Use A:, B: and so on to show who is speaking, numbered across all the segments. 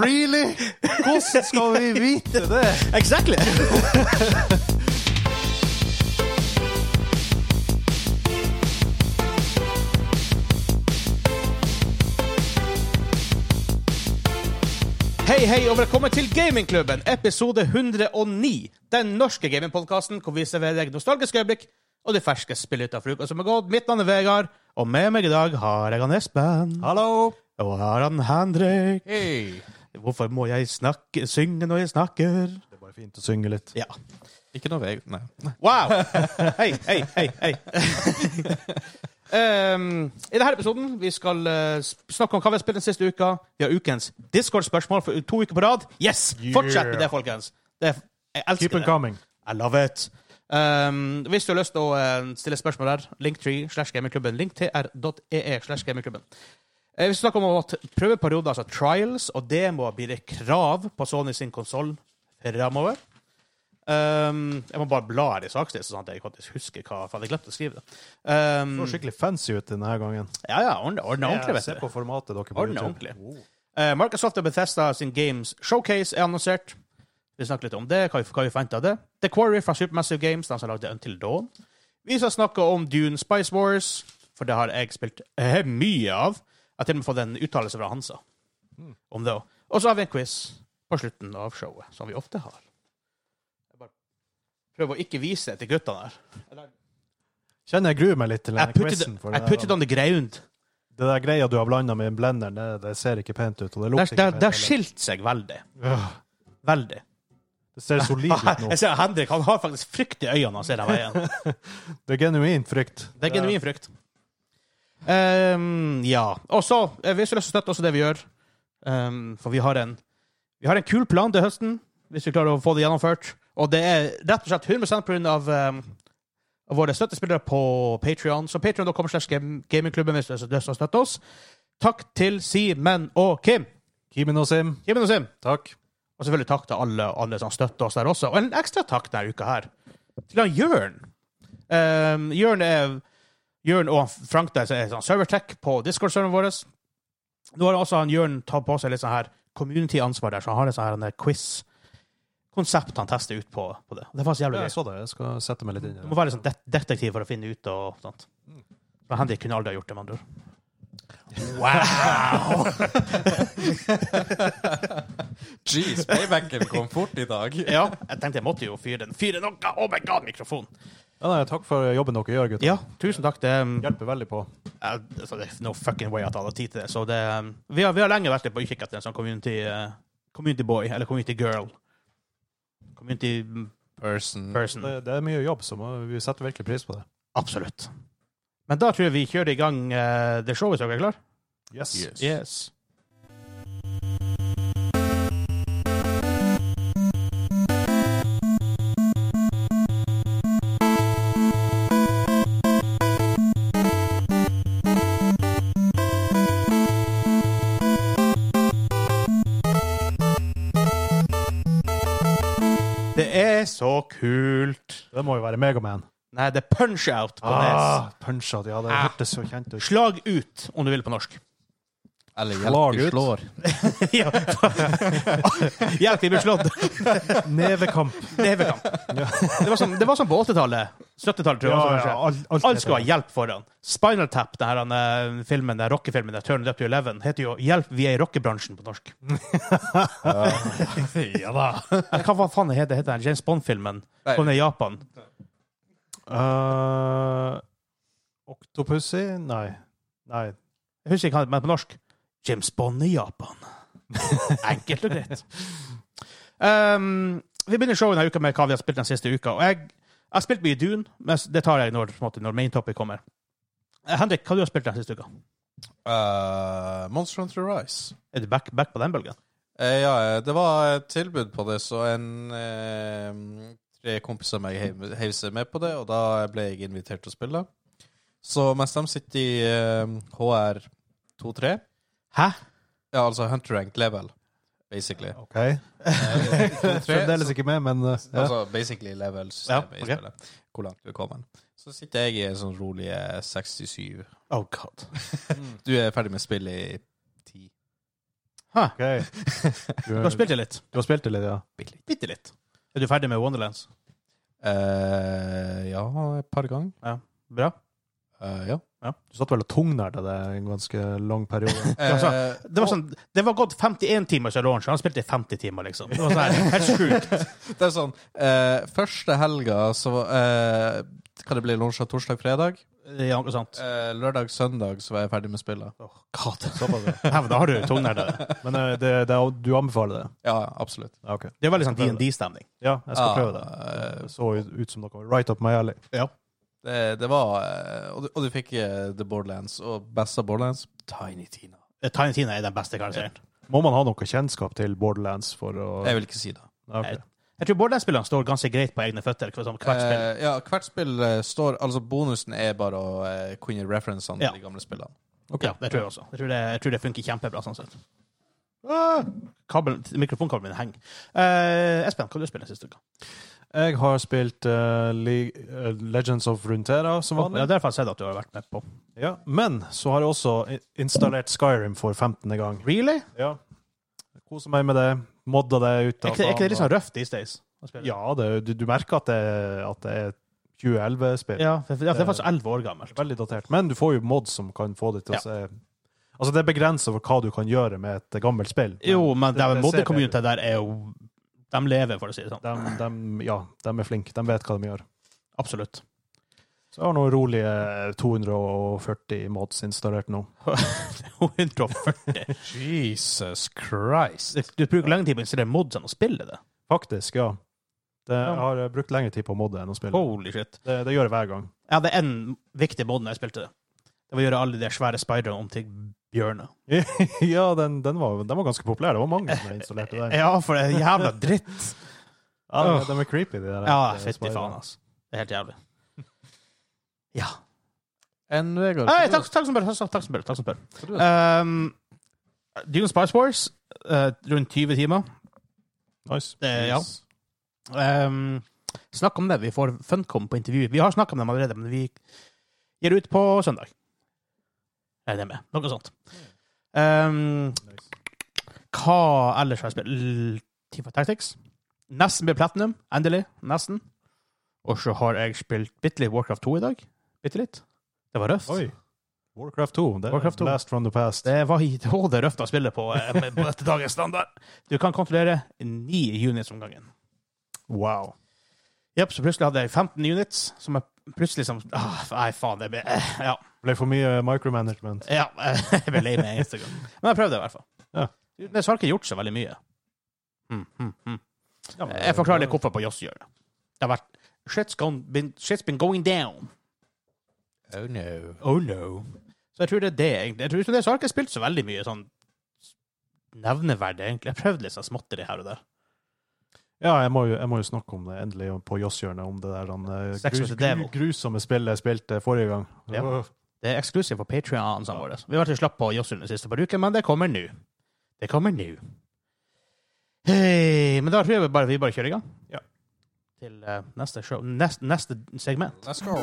A: Really? Hvordan skal vi vite det?
B: Exactly! Hei, hei, og velkommen til Gamingklubben, episode 109. Den norske gamingpodkasten hvor vi serverer deg nostalgiske øyeblikk og de ferske spillene av uka som er gått. Mitt navn er Vegard, og med meg i dag har jeg han Espen.
A: Hallo?
B: Og har han Henrik.
A: Hei.
B: Hvorfor må jeg snakke, synge når jeg snakker?
A: Det er bare fint å synge litt.
B: Ja.
C: Ikke noe vei Nei.
B: Wow! Hei, hei, hei, hei. um, I denne episoden vi skal eh, sp- snakke om hva vi har spilt den siste uka. Vi har ukens Discord-spørsmål for to uker på rad. Yes! Fortsett med det, folkens. Det, er- jeg
A: Keep
B: elsker
A: it
B: det.
A: coming.
B: I love it. Um, hvis du har lyst til å eh, stille spørsmål der, linktree slash gamingklubben. Linktr.ee slash gamingklubben. Eh, Vi snakker om at prøveperioder, altså trials, og demoer blir et krav på Sony sin konsoll fremover. Um, jeg må bare bla her i sakslisten, sånn at jeg faktisk husker hva for Jeg glemte å skrive det. Um,
A: Det så skikkelig fancy ut denne gangen.
B: ja, ja, ordne ordne ordentlig,
A: Se
B: vet du.
A: på formatet dere Oh. på
B: Ordne
A: YouTube.
B: ordentlig. Eh, Microsoft og Bethesda sin Games Showcase er annonsert. Vi snakker litt om det, hva vi, hva vi forventer av det. The Quarry fra Supermassive Games, de som lagde Until Dawn. Vi skal snakke om Dune Spice Wars, for det har jeg spilt eh, mye av. Jeg har til og med fått en uttalelse fra Hansa om det òg. Og så har vi en quiz på slutten av showet, som vi ofte har. Jeg bare prøver å ikke vise det til guttene her.
A: Kjenner jeg gruer meg litt til
B: I
A: denne
B: put it,
A: quizen. For
B: I
A: det
B: put it
A: der-
B: on the ground.
A: det der greia du har blanda med blenderen, det, det ser ikke pent ut. Og det
B: Det
A: lukter ikke
B: har- det har
A: pent.
B: skilt seg veldig.
A: heller. Øh,
B: Veldig.
A: Det ser solid ut nå.
B: Jeg ser Henrik han har faktisk frykt i øynene når han ser den veien.
A: Det er genuin frykt.
B: Det er genuin frykt. Ehm, ja. Og så, eh, hvis du har lyst til å støtte også det vi gjør ehm, For vi har, en, vi har en kul plan til høsten, hvis vi klarer å få det gjennomført. Og det er rett og slett 100 pga. Um, av våre støttespillere på Patrion. Så patreon.com slash gam- gamingklubben hvis du har lyst til å støtte oss. Takk til Simen og Kim.
A: Kimen og Sim,
B: Kimen og Sim.
A: takk.
B: Og selvfølgelig takk til alle andre som støtter oss der også. Og en ekstra takk denne uka her til han Jørn. Um, Jørn, er, Jørn og Frank der som er sånn servertech på Discord-serveren vår. Nå har også han Jørn tatt på seg litt sånn her community-ansvar der, så han har en sånn her en quiz-konsept han tester ut på, på det. Det var så jævlig
A: Jeg
B: gøy.
A: så det. Jeg skal sette meg litt inn i
B: Du
A: det.
B: må være sånn det detektiv for å finne ut og sånt. Men Henrik kunne aldri ha gjort det, med andre ord. Wow!
C: Jeez, paybacken kom fort i dag.
B: ja, jeg tenkte jeg måtte jo fyre den. Fyre noe! Oh my god, mikrofon!
A: Ja, nei, takk for jobben dere gjør, gutter.
B: Ja, tusen takk. Det, um,
A: Hjelper veldig på.
B: Ja, altså, det er no fucking way at jeg hadde tid til det. Så det um, vi, har, vi har lenge vært litt på utkikk etter en sånn community, eh, community boy, eller community girl. Community
C: Person.
B: person.
A: Det, det er mye jobb, så må, vi setter virkelig pris på det.
B: Absolutt. Men da tror jeg vi kjører i gang eh, det showet, så er dere klar?
A: Yes.
C: Yes.
B: Yes. Det er så kult.
A: Det må jo være Megaman.
B: Nei, det er punch-out på
A: Ah, Punchet, ja. Det
B: Ah.
A: hørtes så kjent
B: nes.
A: ut.
B: Slag ut, om du vil på norsk.
C: Eller
A: Slag
C: hjelper
A: ut.
C: slår.
B: Ja. Hjelp, vi blir slått.
A: Nevekamp.
B: Nevekamp. Det var sånn, det var sånn på 80-tallet. 70-tallet, tror jeg. også, kanskje.
A: alt, alt
B: Alle skulle ha hjelp foran. Spinal Tap, den her, den, eh, filmen, den rockefilmen, den Turn It Up to Eleven, heter jo 'Hjelp, vi er i rockebransjen' på norsk.
A: Ja da.
B: Eller Hva faen heter, heter den James Bond-filmen?
C: Nei.
B: Kom ned i Japan.
A: Eh, Octopussy? Nei. Nei.
B: Jeg husker ikke hva den men på norsk. James Bond i Japan. Enkelt og greit. Um, vi begynner showet denne uka med hva vi har spilt den siste uka. Og jeg, jeg har spilt mye Dune, men det tar jeg når, på en måte, når main topic kommer. Eh, Henrik, hva har du spilt den siste uka?
C: Eh, Monster Hunter Rise.
B: Er du back, back på den bølgen?
C: Eh, ja, eh, det var et tilbud på det, så en eh, tre kompiser av meg heiv- heiv seg med på det, og da ble jeg invitert til å spille. Så mens de sitter i eh, HR 23,
B: Hæ?
C: ja, altså Hunter Rank level, basically.
A: OK.
C: Eh, 23,
A: Fremdeles ikke med, men eh, ja.
C: Altså basically level-systemet
B: Ja,
C: i
B: ok.
C: spillet. Hvor langt du er kommet. Så sitter jeg i en sånn rolig eh, 67.
B: Oh god.
C: Du er ferdig med spillet i 10.
B: Hæ?
A: OK. Du,
B: Du har spilt det litt?
A: du har spilt det litt, ja?
B: Bitte litt. Er du ferdig med Wonderlands?
C: Eh, ja, et par ganger.
B: Bra.
C: Eh, ja.
A: Du satt vel og tungnerda det en ganske lang periode.
B: altså,
C: Eh,
B: Det var, sånn, det var gått 51 timer siden launch. Han spilte i 50 timer, liksom. Det var sånn her, helt sjukt.
C: Eh, Det er sånn eh, Første helga så eh, Kan det bli lunsj av torsdag-fredag?
B: Ja, ikke sant.
C: Eh, Lørdag-søndag så var jeg ferdig med spillet.
B: Åh, God, såpass. Hæv, da har du tungnerde.
A: Men eh, det, det, du anbefaler det?
C: Ja, absolutt.
A: Ja, OK.
B: Det er veldig sånn D&D-stemning.
A: Ja, jeg skal
C: Ja,
A: prøve det.
C: eh,
A: Det så ut ut som noe right up my alley.
C: det, det var eh, og, du, og du fikk eh, The Borderlands, og best av Borderlands Tiny Tina.
B: Tiny Tina Eh, er den beste karakteren.
A: Må man ha noe kjennskap til Borderlands for å
C: Jeg vil ikke si det.
A: Ja, ok.
B: Jeg tror Borderlands-spillerne står ganske greit på egne føtter. Sånn, hvert spill.
C: Eh, ja, hvert spill eh, står Altså, bonusen er bare å eh, kunne referansene
B: Ja.
C: til de gamle spillene.
B: Ja, det tror jeg også. Jeg tror det, jeg tror det funker kjempebra sånn sett. Ah, kabelen, mikrofonkabelen min henger. Eh, Espen, hva har du spilt den siste uka?
A: Jeg har spilt eh, Le eh, Legends of Runeterra som
B: Ja, det
A: vanlig.
B: har jeg faktisk sett at du har vært med på.
A: Ja. Men så har jeg også i- installert Skyrim for 15. gang.
B: Really?
A: Ja. Koser meg med det. Modda det ut
B: Er
A: av
B: ikke, er ikke det litt
A: banen,
B: sånn røft these days? å
A: og-
B: spille?
A: Ja, det, du, du merker at det, at det er 2011-spill.
B: Ja, for, for, ja, for det er faktisk elleve år gammelt.
A: Veldig datert. Men du får jo mods som kan få det til
B: Ja.
A: å se Altså, det er begrensa for hva du kan gjøre med et gammelt spill. Men
B: Jo, men
A: det-
B: det,
A: det ser bedre ut.
B: modder-community der er jo De lever, for å si det sånn.
A: De, de, ja, de er flinke. De vet hva de gjør.
B: Absolutt.
A: Så jeg har eh, noen rolige 240 mods installert nå.
B: 140.
C: Jesus Christ.
B: Du bruker lengre tid på å installere mods enn å spille det.
A: Faktisk, ja. Det,
B: Ja. Oh.
A: jeg har eh, brukt lengre tid på å modde enn å spille.
B: Holy shit.
A: Det, det gjør jeg hver gang.
B: Jeg hadde én viktig mod når jeg spilte det. Det var å gjøre alle de svære speiderne om til bjørner.
A: ja, den, den, var, den var ganske populær. Det var mange som installerte den.
B: Ja, for det er jævla dritt.
A: Ja, de- de er creepy, de der.
B: Ja,
A: eh,
B: fytti
A: spiderne.
B: faen, altså. Det er helt jævlig. Ja.
C: Enn Vegard.
B: Nei,
C: hva
B: takk, takk som spør. Takk, takk som spør. Takk som spør.
C: du- hva du-
B: Um, Dune Spice Wars, eh, rundt 20 timer.
A: Nice.
B: Det, ja. Um, snakk om det. Vi får Funcom på intervju. Vi har snakka om dem allerede, men vi gir ut på søndag. Er det med? Noe sånt. Um,
A: Nice.
B: hva ellers har jeg spilt? L- Team for Tactics. Nesten ble platinum. Endelig. Nesten. Og så har jeg spilt bitte litt Warcraft 2 i dag. Bitte litt. Det var røft.
A: Oi. Warcraft 2. Det er
B: Warcraft 2.
A: Blast from the past.
B: Det var i å, det er røft å spille på, eh, med- på etter dagens standard. Du kan kontrollere ni units om gangen.
A: Wow.
B: Jepp, så plutselig hadde jeg 15 units, som jeg plutselig som ah, Nei, faen, det ble eh, Ja.
A: Ble for mye eh, micromanagement.
B: ja eh, jeg ble lei meg en eneste gang. Men jeg prøvde det, i hvert fall.
A: Ja.
B: Det har ikke gjort så veldig mye. Mm, mm, mm.
A: Ja, men-
B: Jeg forklarer litt hvorfor på Joss gjør det. Det har vært Shit's, gone, been, shit's been going down.
C: Oh no.
B: Oh no. Så jeg tror det er det, egentlig. Jeg tror Uten det så har jeg ikke spilt så veldig mye sånn nevneverdig, egentlig. Jeg prøvde litt sånn småtteri her og der.
A: Ja, jeg må, jo, jeg må jo snakke om det endelig på Joss-hjørnet, om det der han, eh,
B: Sex with the
A: gru-
B: devil.
A: gru- grusomme spillet jeg spilte forrige gang.
B: Ja. Det er eksklusivt for Patreon-ene våre. Vi har vært slapp på Jossun den siste par uker, men det kommer nå. Det kommer nå. Hei, men da tror jeg vi bare, vi bare kjører i gang.
A: Ja.
B: Til eh, neste show. Nest, neste segment.
C: Let's go.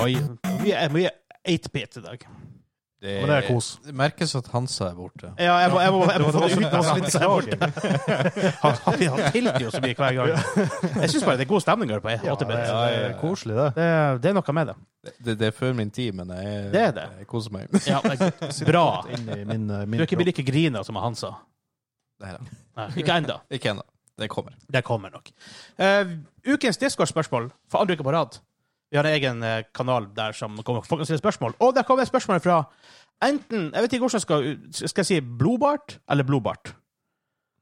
B: Oi. Vi er mye 8-bit i dag.
A: Men det er kos.
C: Det merkes at Hansa er borte.
B: Ja, jeg må, jeg må, jeg
A: Det var
B: må, få det
A: også-
B: ut.
A: det var også litt sorg.
B: Han, han, han tilter jo så mye hver gang. Jeg syns bare det er god stemning her på
A: Ja,
B: 8-bit.
A: det,
C: ja, ja,
A: det
C: ja.
A: er koselig, det.
B: Det, det er noe med det.
C: Det, det, det er før min tid, men jeg,
B: Det er det.
C: jeg koser meg.
B: Ja, det er bra.
A: Inni min, eh, min
B: Du er ikke
A: kropp.
B: like grina som han sa.
C: Neida.
B: Nei, ikke ennå.
C: Ikke ennå. Det kommer.
B: Det kommer nok. Eh, ukens Discord-spørsmål for andre uke på rad. Vi har en egen eh, kanal der som kommer folk kan stille spørsmål. Og der kommer spørsmål fra enten Jeg vet ikke hvordan jeg skal Skal jeg si blodbart eller blodbart?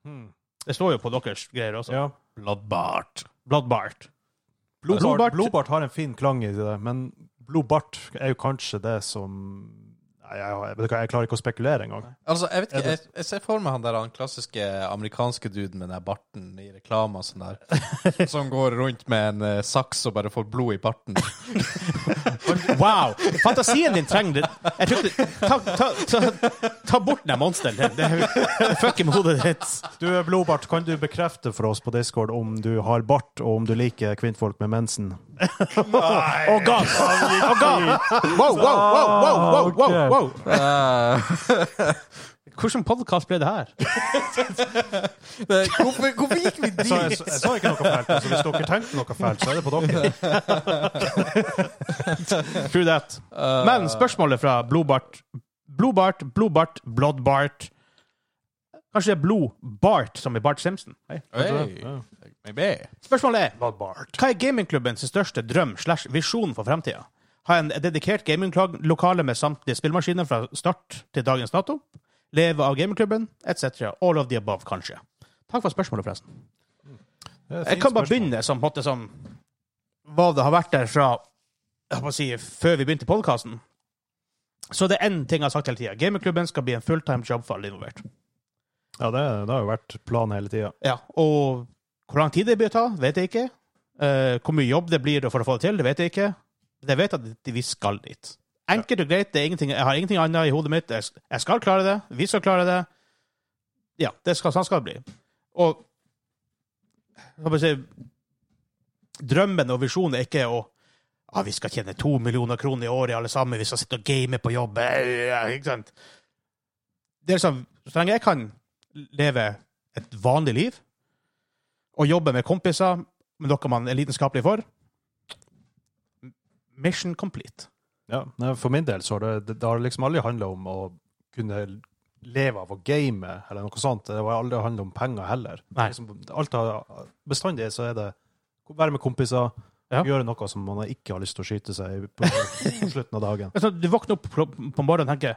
A: Hmm.
B: Det står jo på deres greier også.
A: Ja.
C: Bloodbart.
B: Blodbart.
A: Blodbart,
B: Blodbart-
A: blodbart har en fin klang i det, men blodbart er jo kanskje det som Nei, jeg, har- vet du hva, jeg klarer ikke å spekulere engang.
C: Altså, jeg vet
A: Er
C: ikke, jeg,
A: det-
C: jeg ser for meg han der han klassiske amerikanske duden med den der barten i reklama sånn der, som går rundt med en eh, saks og bare får blod i barten.
B: Wow! Fantasien din trenger det. Jeg tror ikke ta, ta, ta, ta bort den monsteren din. Det fucker med hodet ditt.
A: Du, Blodbart, kan du bekrefte for oss på Discord om du har bart, og om du liker kvinnfolk med mensen?
B: Og gass! Og gass! Wow, wow, wow, wow, wow, wow, wow.
C: Eh,
B: Hvilken podkast ble det her?
C: det- hvorfor, hvorfor gikk vi
A: Jeg sa, jeg, jeg sa ikke noe fælt, så hvis dere tenkte noe fælt, så er det på dere.
B: True that. Men spørsmålet fra Blodbart Blodbart, Blodbart, Blodbart Kanskje det er Blodbart som i Bart Simpson? Nei.
C: Hey, maybe.
B: Spørsmålet er Hva er gamingklubbens største drøm slash visjon for fremtida? Ha en dedikert gaminglokale med samtlige spillmaskiner fra start til dagens dato? Leve av gamingklubben? Etc. All of the above, kanskje. Takk for spørsmålet, forresten.
A: Det er et
B: Jeg
A: fint
B: kan bare
A: spørsmål.
B: begynne som, på en måte, som hva det har vært der fra jeg må si, før vi begynte podkasten. Så det er én ting jeg har sagt hele tida. Gamingklubben skal bli en fulltime jobb for alle involvert.
A: Ja, det, det har jo vært planen hele tida.
B: Ja, og hvor lang tid det blir å ta, vet jeg ikke. Eh, hvor mye jobb det blir for å få det til, det vet jeg ikke. Men jeg vet at de- vi skal dit. Enkelt og greit. Det er ingenting, jeg har ingenting annet i hodet mitt. Jeg s- Jeg skal klare det. Vi skal klare det. Ja, det skal, sånn skal det bli. Og hva skal jeg si Drømmen og visjonen er ikke å ja, vi skal tjene to millioner kroner i året, alle sammen. Vi skal sitte og game på jobb. Ja, Ikke sant? Det er sånn, Så lenge jeg kan leve et vanlig liv og jobbe med kompiser med noe man er lidenskapelig for Mission complete.
A: Ja, nei, For min del så har det, det har liksom aldri handla om å kunne leve av å game eller noe sånt. Det har aldri handla om penger heller.
B: Nei.
A: Liksom, alt har, bestandig så er det være med kompiser,
B: Ja.
A: gjøre noe som man ikke har lyst til å skyte seg i på, på slutten av dagen.
B: Altså, du våkner opp på på morgenen og tenker 'Jeg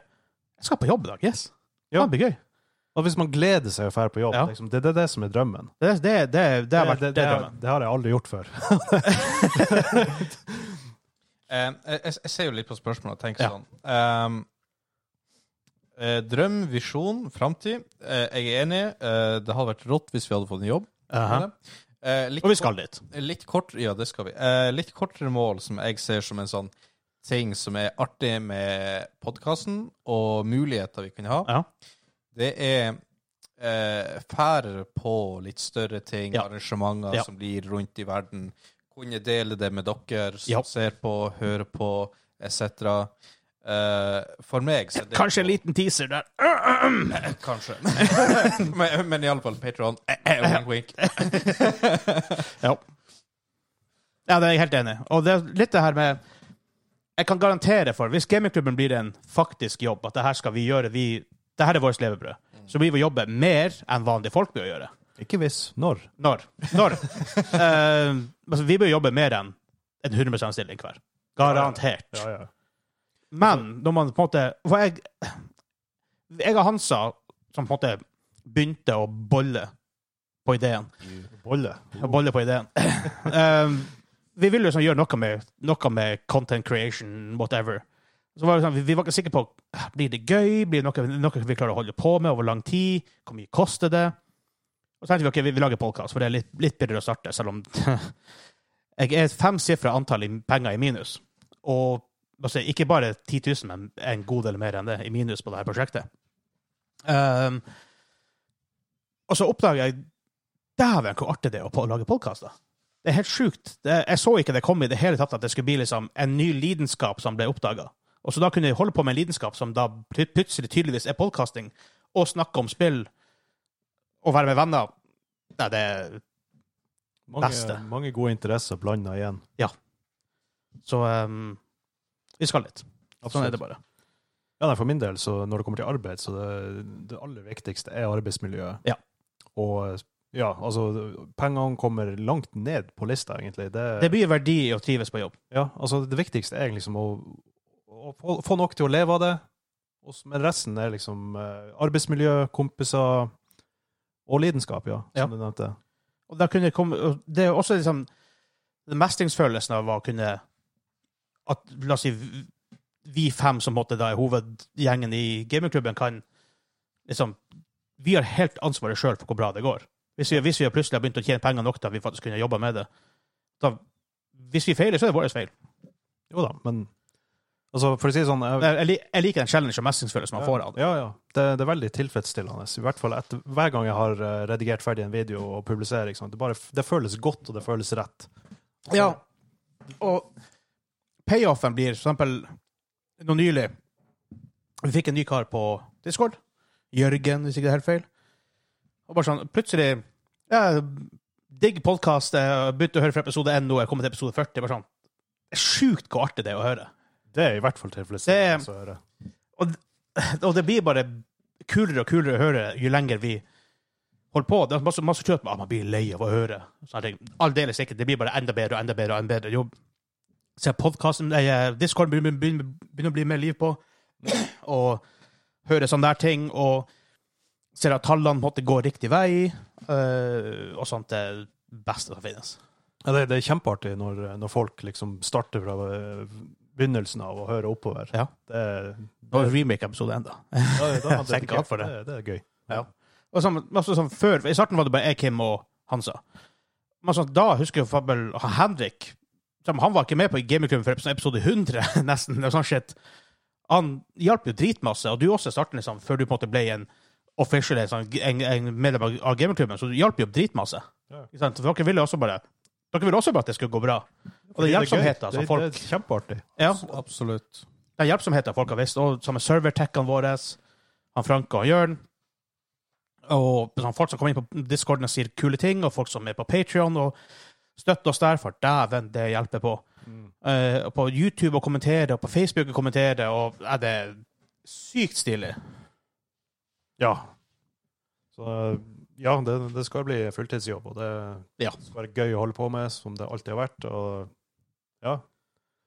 B: skal på jobb i dag'. Yes.
A: Ja.
B: Det blir gøy.
A: Og hvis man gleder seg å dra på jobb,
B: Ja.
A: liksom, det, det er det som er drømmen.
B: Det, det, det, det har vært
A: det,
B: det,
A: det,
B: er
A: har-
B: drømmen.
A: det har jeg aldri gjort før.
C: Eh, jeg, jeg ser jo litt på spørsmålet og tenker
B: Ja.
C: sånn Ehm, eh, Drøm, visjon, framtid. Eh, jeg er enig. Eh, det hadde vært rått hvis vi hadde fått en jobb.
B: Aha.
C: Eh, litt
B: Og vi skal dit.
C: Litt kort, ja, det skal vi. Eh, litt kortere mål som jeg ser som en sånn ting som er artig med podkasten, og muligheter vi kan ha,
B: Ja.
C: det er eh, færre på litt større ting,
B: Ja.
C: arrangementer
B: Ja.
C: som blir rundt i verden. Kunne dele det med dere som
B: Ja.
C: ser på, hører på, etc. Eh, for meg så er det
B: Kanskje en liten teaser der.
C: Kanskje. men men iallfall Patron. wink, wink.
B: Ja. ja, det er jeg helt enig i. Og det er litt det her med Jeg kan garantere for, hvis gamingklubben blir en faktisk jobb, at det her skal vi gjøre, vi det her er vårt levebrød, så blir vi å jobbe mer enn vanlige folk bør gjøre.
A: Ikke hvis, når.
B: Når? Når? Eh, altså, vi bør jobbe mer enn en 100 stilling hver. Garantert.
A: Ja, ja.
B: Men når man på en måte For jeg Jeg og Hansa som på en måte begynte å bolle på ideen.
A: Bolle.
B: Å bolle på ideen. um, vi ville liksom gjøre noe med, noe med content creation, whatever. Så var det sånn, vi, vi var ikke sikre på blir det gøy, blir det noe, noe vi klarer å holde på med over lang tid, hvor mye koster det? Og så tenkte vi ok, vi, vi lager podkast, for det er litt, litt bedre å starte, selv om jeg er et femsifra antall i penger i minus. Og altså, ikke bare 10 000, men en god del mer enn det i minus på dette prosjektet. Um, og så oppdager jeg Dæven, hvor artig det er å på- lage podkaster. Det er helt sjukt. Det, jeg så ikke det komme i det hele tatt at det skulle bli liksom en ny lidenskap som ble oppdaga. Og så da kunne jeg holde på med en lidenskap som da plut- plutselig tydeligvis er podkasting, og snakke om spill og være med venner. Nei, det er
A: Mange,
B: Beste. mange
A: mange gode interesser blanda igjen.
B: Så ehm, vi skal litt. Sånn er det bare.
A: Ja, nei, For min del, så når det kommer til arbeid, så det, det aller viktigste er arbeidsmiljøet.
B: Ja.
A: Og ja, altså Pengene kommer langt ned på lista, egentlig. Det,
B: Det blir verdi i å trives på jobb.
A: ja, altså, det viktigste er liksom å, å få, få nok til å leve av det. Og s- men resten er liksom eh, arbeidsmiljø, kompiser og lidenskap, ja, som
B: Ja.
A: du nevnte.
B: Og da kunne jeg komme, og det er jo også liksom den mestringsfølelsen av å kunne at, La oss si vi fem som måtte da er hovedgjengen i gamingklubben, kan liksom Vi har helt ansvaret sjøl for hvor bra det går. Hvis vi, hvis vi har plutselig har begynt å tjene penger nok til at vi faktisk kunne jobba med det da, Hvis vi feiler, så er det vår feil.
A: Jo da, men altså, for å si det sånn jeg,
B: Men Jeg, lik- jeg liker den challenge og mestringsfølelsen man får av det.
A: Ja, ja. Det, det er veldig tilfredsstillende. I hvert fall etter, hver gang jeg har eh, redigert ferdig en video og publiserer. Ikke sant? Det, bare, det føles godt, og det føles rett.
B: Ja. Og payoffen blir for eksempel noe nylig. Vi fikk en ny kar på Discord. Jørgen, hvis ikke det er helt feil. Og bare sånn, plutselig ja, Digg podkast. Begynte å høre fra episode 1 nå. Jeg kommer til episode 40. Bare sånn. Det er sjukt hvor artig det er å høre.
A: Det er i hvert fall tilfredsstillende
B: Det-
A: å høre.
B: Og det blir bare kulere og kulere å høre jo lenger vi holder på. Det er masse, masse kjøp, ah, man blir lei av å høre. Sånne ting. Aldeles ikke. Det blir bare enda bedre og enda bedre og enda bedre jobb. Så podkasten, eh, Discord begynner, begynner, begynner å bli mer liv på. Og høre sånne der ting. Og ser at tallene måtte gå riktig vei. eh, og sånt er det beste som finnes.
A: Ja, det, det er kjempeartig når, når folk liksom starter fra eh, begynnelsen av og hører oppover.
B: Ja.
A: Det, er-
B: Og remake-episode enda.
A: ja, da er man
B: Takk
A: dedikert.
B: for det.
A: Det, det er gøy.
B: Og sånn, altså, sånn, før, I starten var det bare jeg, Kim og Hansa. Men sånn, da husker jeg for eksempel han Henrik som, Han var ikke med på Gamingklubben før episode 100, nesten. og sånn shit. Han hjalp jo dritmasse, og du også i starten, liksom, før du på en måte ble en official en, sånn- en, en medlem av av Gamingklubben, så du hjalp jo dritmasse.
A: Ja.
B: Ikke sant? For dere ville også bare dere ville også bare at det skulle gå bra. Og
A: Fordi er
B: det er
A: gøy.
B: hjelpsomheten som
A: Det-
B: folk
A: Det er kjempeartig.
B: ja,
C: Absolutt.
B: den hjelpsomheten folk har visst, og sammen med servertekkene våre, han Franke og Jørn, og sånn, folk som kommer inn på Discorden og sier kule ting, og folk som er på Patreon og støtter oss der, for dæven, det hjelper på. Eh, og på YouTube og kommentere, og på Facebook og kommentere, og ja, det er sykt stilig.
A: Ja. Så eh, ja, det, det skal bli fulltidsjobb, og det
B: Ja.
A: skal være gøy å holde på med, som det alltid har vært. Og ja.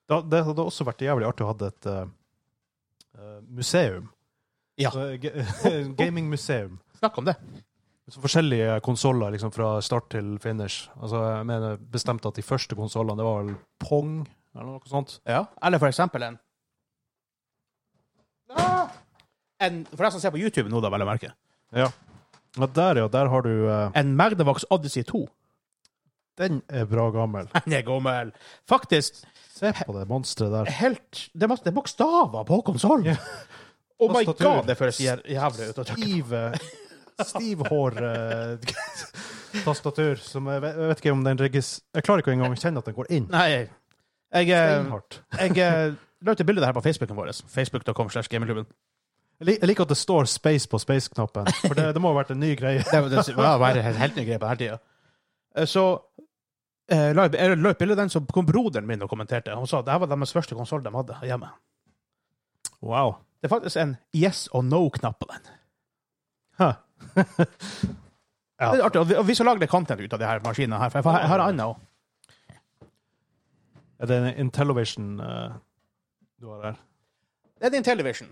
A: Det, det hadde også vært jævlig artig å ha et eh, eh, museum.
B: Ja.
A: Så, ga- Gamingmuseum.
B: Snakk om det.
A: Så forskjellige konsoller liksom, fra start til finish. Altså, jeg mener bestemt at de første konsollene, det var vel Pong eller noe sånt.
B: Ja. Eller for eksempel en Ah! en, For deg som ser på YouTube nå, da, vel å merke.
A: Ja, der, ja. Der har du eh,
B: En Magnavox Odyssey 2.
A: Den er bra gammel.
B: Den er gammel. Faktisk,
A: Se på det monsteret der.
B: helt Det er, masse, det er bokstaver på konsollen!
A: Ja.
B: Oh my
A: Tastatur.
B: god, det føles jæv- jævlig ut å trykke.
A: Stive eh, Stivhår-tastatur eh, som jeg vet, jeg vet ikke om den regis... Jeg klarer ikke engang å kjenne at den går inn.
B: Nei, jeg, jeg,
A: Steinhardt.
B: jeg eh, la ut et bilde der på Facebooken vår. altså. Facebook.com slash gamingklubben.
A: Jeg lik- jeg liker at det står space på space-knappen, for det, det må ha vært en ny greie.
B: Det var- det var bare helt, helt ny greie på den tida. Eh, Så eh, la jeg jeg la ut bilde av den, så kom broderen min og kommenterte. Han sa at det her var deres første konsoll de hadde hjemme.
A: Wow.
B: Det er faktisk en yes og no-knapp på den.
A: Huh.
B: Det er artig, og vi, og vi skal lage litt content ut av de her maskinene her, for jeg har- jeg har annet òg.
A: Er det en Intellivision eh, du har her?
B: Det er din television.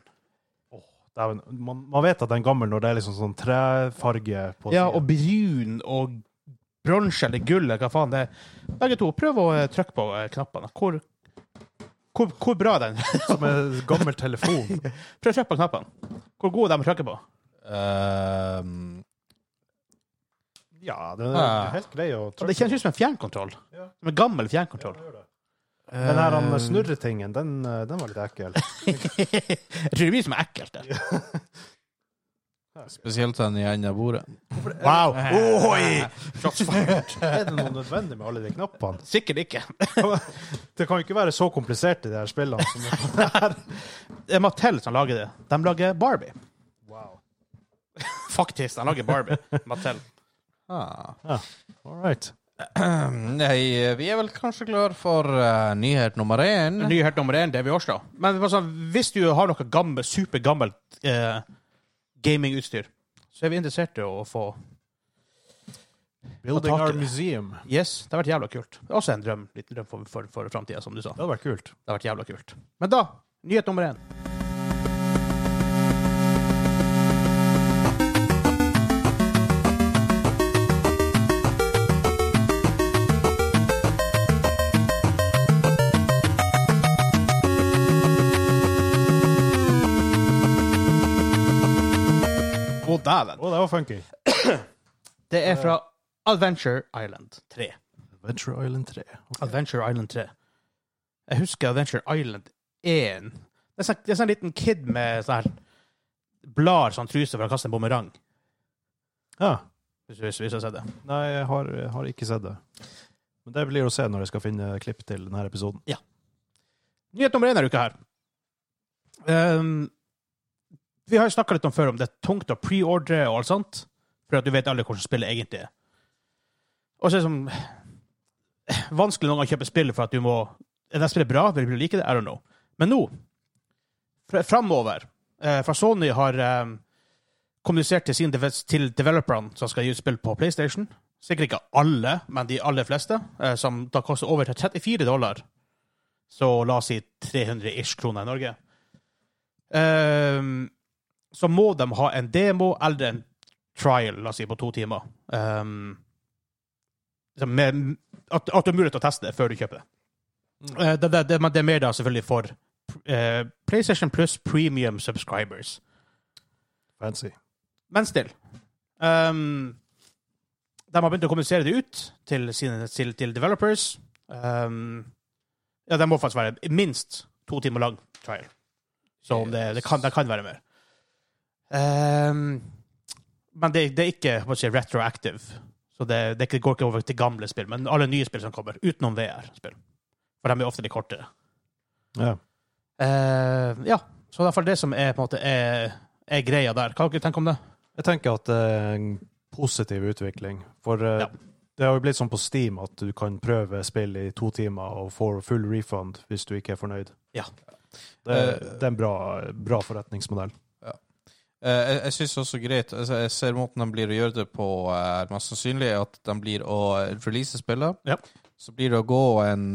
A: Dæven, man, man vet at den er gammel når det er liksom sånn trefarge på
B: Ja,
A: siden.
B: og brun og bronse eller gull eller hva faen det er. Begge to, prøv å eh, trykke på eh, knappene. Hvor, hvor, hvor bra er den
A: Som en gammel telefon.
B: Prøv å trykke på knappene. Hvor gode er de å trykke på?
C: Ehm,
A: Ja, den er helt grei å
B: Og Ah. det kjennes ut som en fjernkontroll.
A: Ja.
B: Som en gammel fjernkontroll.
A: Den her
B: Eh.
A: han snurretingen, den, eh, den var litt ekkel.
B: jeg tror det er mye som er ekkelt der.
C: spesielt den i enden av bordet.
B: Wow! Ohoi! Shots fired.
A: Er det noe nødvendig med alle de knappene?
B: Sikkert ikke.
A: Det kan jo ikke være så komplisert i de her spillene. Som,
B: Det er Mattel som lager det. De lager Barbie.
A: wow.
B: Faktisk, de lager Barbie. Mattel.
C: Ah.
A: All right.
C: Nei, vi er vel kanskje klar for eh, nyhet nummer én.
B: Nyhet nummer én, det er vi også. Men det var sånn, hvis du har noe gammel, supergammelt eh, gamingutstyr, så er vi interessert i å få
A: Building
B: Og tak i
A: our
B: det.
A: museum. Det
B: Yes, det har vært jævla kult. Det er Også en drøm, liten drøm for, for, for framtida, som du sa. Det
A: hadde vært kult.
B: har vært jævla kult. Men da, nyhet nummer én. dæven!
A: Å, det var funky.
B: Det er fra Adventure Island 3.
A: Adventure Island 3.
B: Adventure Island 3. Jeg husker Adventure Island 1. Det er sånn, det er sånn liten kid med sånn her blar sånn truse for å kaste en bumerang.
A: Ja.
B: Hvis, hvis, hvis jeg ser det.
A: Nei, jeg har, jeg har ikke sett det. Men det blir å se når jeg skal finne klipp til denne episoden.
B: Nyhet nummer én denne uka her. Ehm, vi har jo snakka litt om før om det er tungt å preordre og alt sånt, for at du vet aldri hvordan spillet egentlig er. Og så er det sånn Vanskelig noen ganger å kjøpe spillet for at du må Er det spillet bra? Vil du like det? I don't know. Men nå, fra- framover eh, Fra Sony har eh, kommunisert til, sin, dev- til developerne som skal gi ut spill på PlayStation. Sikkert ikke alle, men de aller fleste, eh, som da koster over til 34 dollar. Så la oss si 300 ish kroner i Norge. Ehm, så må de ha en demo eller en trial, la oss si, på to timer. Ehm, så med, at, at det er mulig til å teste det før du kjøper det. Eh, det, det, det. Men det er mer da selvfølgelig for eh, PlayStation pluss premium subscribers.
A: Fancy.
B: Men still. Ehm, de har begynt å kommunisere det ut til, sine, til, til developers. Ehm, ja, den må faktisk være minst to timer lang trial. Så om det, det, kan, det kan være mer. Ehm, men det, det er ikke hva skal jeg si, retroactive. Så det, det er ikke- går ikke over til gamle spill, men alle nye spill som kommer, utenom VR-spill. For de er ofte litt kortere.
A: Ja.
B: Ehm, ja, så det er i hvert fall det som er, på en måte, er, er greia der. Hva tenker du tenke om det?
A: Jeg tenker at det er en positiv utvikling. For eh,
B: Ja.
A: det har jo blitt sånn på Steam at du kan prøve spill i to timer og får full refund hvis du ikke er fornøyd.
B: Ja.
A: Det, det er en bra, bra forretningsmodell.
C: Eh, jeg jeg syns også greit altså, Jeg ser måten de blir å gjøre det på, er mest sannsynlig er at de blir å release spillet.
B: Ja.
C: Så blir det å gå en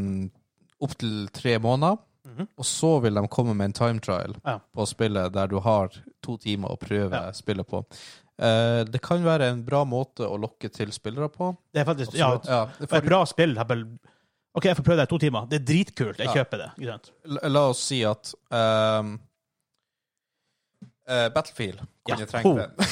C: opptil tre måneder,
B: Mhm.
C: og så vil de komme med en time trial
B: Ja.
C: på spillet der du har to timer å prøve
B: Ja.
C: spillet på. Eh, det kan være en bra måte å lokke til spillere på.
B: Det er faktisk ja,
C: Absolutt. Ja, det
B: for
C: får-
B: et bra spill. har vel- OK, jeg får prøve det i to timer. Det er dritkult. Jeg
C: Ja.
B: kjøper det. Ikke sant?
C: la, la oss si at ehm, eh, Battlefield kunne
B: Ja.
C: trengt det.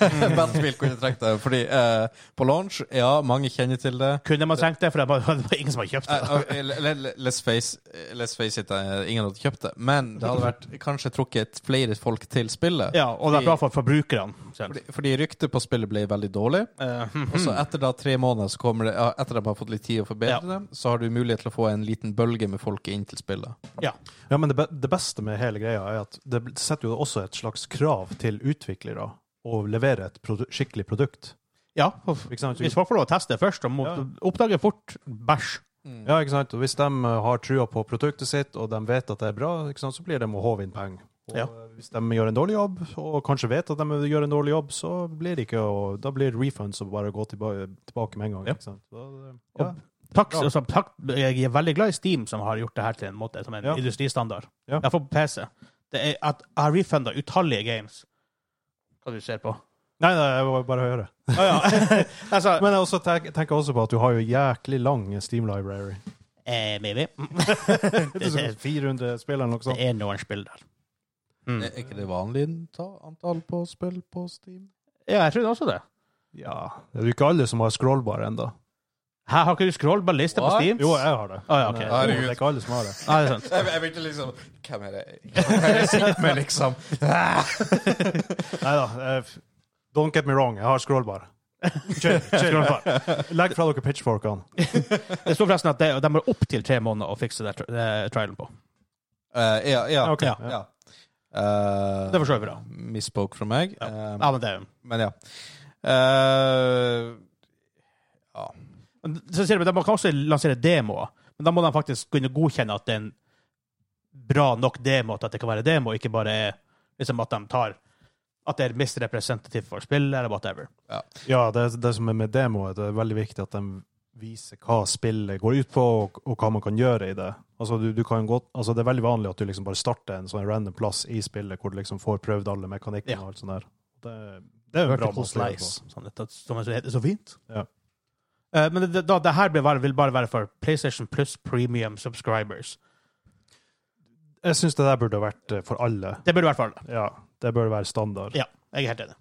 C: Battlefield kunne trengt det, fordi eh, på launch, ja, mange kjenner til det.
B: Kunne man trengt det, for det var, det var ingen som hadde kjøpt det.
C: Eh, ok, le- le- le- let's, face, eh, let's face it, eh, ingen hadde kjøpt det. Men det hadde vært kanskje trukket flere folk til spillet.
B: Ja, og det er bra for forbrukerne. selv.
C: Fordi, fordi ryktet på spillet ble veldig dårlig.
B: Eh, hm,
C: Og så etter da tre måneder, så kommer det, ja, etter at de har fått litt tid å forbedre det, så har du mulighet til å få en liten bølge med folk inn til spillet.
B: ja.
A: Ja, men det, be det beste med hele greia er at det bl- setter jo også et slags krav til utviklere å levere et produ skikkelig produkt.
B: ja.
A: Ikke sant?
B: Hvis folk får lov å teste først, og må,
A: Ja.
B: oppdager fort bæsj.
A: Ja, ikke sant? Og hvis de eh, har trua på produktet sitt, og de vet at det er bra, ikke sant? så blir de å håve inn penger. Og
B: Ja.
A: eh, hvis de gjør en dårlig jobb, og kanskje vet at de gjør en dårlig jobb, så blir det ikke å, da blir det refunds og bare gå tilba tilbake med en gang.
B: Ja.
A: Ikke sant? Da, eh, ja.
B: Og Takk,
A: Bra.
B: altså, takk, jeg er veldig glad i Steam, som har gjort det her til en måte som en
A: Ja.
B: industristandard.
A: Ja.
B: Jeg får på PC. Det er at jeg har refunda utallige games. Hva du ser på?
A: Nei, nei, jeg var bare høre.
B: Å ja. altså,
A: Men jeg også tenk, tenker også på at du har jo jæklig lang Steam library.
B: eh, maybe.
A: Det er sånn 400 spill eller noe
B: Det
A: sånt.
B: er noen spill der.
A: Eh,
B: Mm.
C: Er ikke det vanlig ta- antall på spill på Steam?
B: Ja, jeg trodde også det.
A: Ja, det er jo ikke alle som har scrollbar ennå.
B: Her har ikke du scrollbar liste på
C: What?
B: Steam?
A: Jo, jeg har det.
B: Å, ja, ok.
A: Men, eh,
C: Herregud.
A: det er ikke alle som har det.
B: Ja, det er sant.
C: Jeg, jeg begynte liksom Hvem er det Hvem er det jeg sitter med, liksom?
A: Nei da. eh, Don't get me wrong, jeg har scrollbar. Chill, chill. Legg fra dere pitchforkene.
B: Det står forresten at de, de har opptil tre måneder å fikse det, det trialen på.
C: Eh, ja, ja.
A: Ok.
B: Ja.
C: ja. Eh,
B: Det forstår vi da.
C: Misspoke fra meg.
B: Ja.
C: Eh,
B: Ja, men det
C: men ja. Eh,
B: men så sier de, de kan også lansere demoer, men da må de faktisk kunne godkjenne at det er en bra nok demo til at det kan være demo, ikke bare liksom at de tar at det er mest representativt for spillet, eller whatever.
A: Ja, det, det som er med demoet, det er veldig viktig at de viser hva spillet går ut på, og, og hva man kan gjøre i det. Altså, du, du kan gå, altså, det er veldig vanlig at du liksom bare starter en sånn random plass i spillet, hvor du liksom får prøvd alle mekanikkene
B: Ja.
A: og alt sånt der. Det, det er en bra
B: Vertical
A: måte å gjøre det på.
B: slice, sånn at- som det heter så fint.
A: altså. Ja.
B: Eh, men det, da, det her blir bare, vil bare være for PlayStation pluss premium subscribers.
A: Jeg syns det der burde vært eh, for alle.
B: Det burde i hvert fall
A: Ja, det bør være standard.
B: Ja, jeg er helt enig.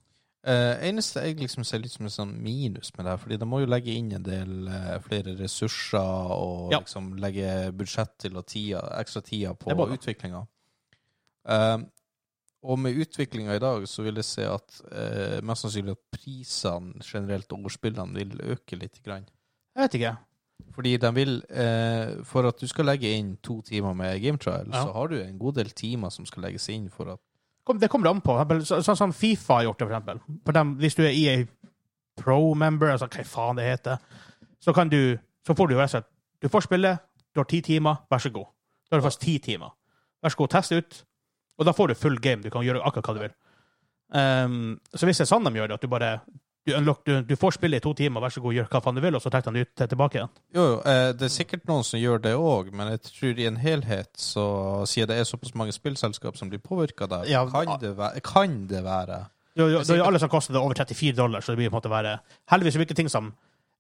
C: Eh, eneste jeg liksom ser litt som en sånn minus med det her, fordi de må jo legge inn en del eh, flere ressurser og
B: Ja.
C: liksom legge budsjett til og tida, ekstra tida på
B: Det må de.
C: utviklinga. Eh, og med utviklinga i dag så vil jeg se at eh, mest sannsynlig at prisene generelt og ordspillene vil øke litt. Grann.
B: Jeg vet ikke.
C: Fordi de vil eh, For at du skal legge inn to timer med game trial,
B: Ja.
C: så har du en god del timer som skal legges inn for at
B: Kom, det kommer an på. Så, sånn som Fifa har gjort det, for eksempel. For dem, hvis du er E EA Pro-member, altså hva faen det heter, så kan du Så får du jo rett og slett Du får spille, du har ti timer, vær så god. Da har du faktisk ti timer. Vær så god, test ut. Og da får du full game. Du kan gjøre akkurat hva du vil. Ehm, så hvis det er sånn de gjør det, at du bare du, unlock, du, du får spille i to timer, vær så god, gjør hva faen du vil, og så trekker han ut tilbake igjen.
C: Jo, jo, eh, det er sikkert noen som gjør det òg, men jeg tror i en helhet, så siden det er såpass mange spillselskap som blir påvirka der,
B: Ja,
C: kan, det være, kan det være
B: Det er jo- det er jo alle som koster det over 34 dollar, så det blir på en måte være Heldigvis er det ikke ting som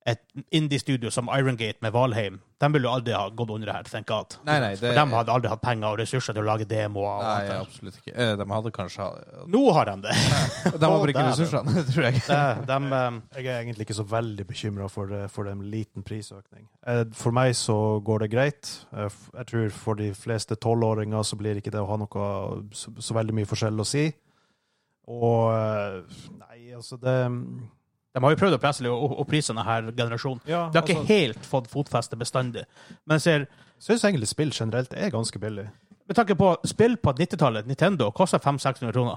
B: et indie-studio som Iron Gate med Valheim. De ville jo aldri ha gått under det her, thank god.
C: Nei, nei,
B: For
C: det
B: de hadde aldri hatt penger og ressurser til å lage demoer. Og
C: Nei,
B: alt det.
C: absolutt ikke. Eh, De hadde kanskje
B: Nå har de det.
C: De må
B: Å,
C: bruke
B: der,
C: ressursene, tror jeg.
B: De, de, um,
A: Jeg er egentlig ikke så veldig bekymra for, eh, for en liten prisøkning. Eh, For meg så går det greit. Eh, f- Jeg tror for de fleste tolvåringer så blir ikke det å ha noe så, så veldig mye forskjell å si. Og eh, Nei, altså det
B: de har jo prøvd å presse litt opp opp prisene her generasjonen.
A: Ja,
B: De har ikke
A: altså,
B: helt fått fotfeste bestandig. Men jeg ser
A: syns egentlig spill generelt er ganske billig.
B: med tanke på spill på 90-tallet, Nintendo kosta 500-600 kroner.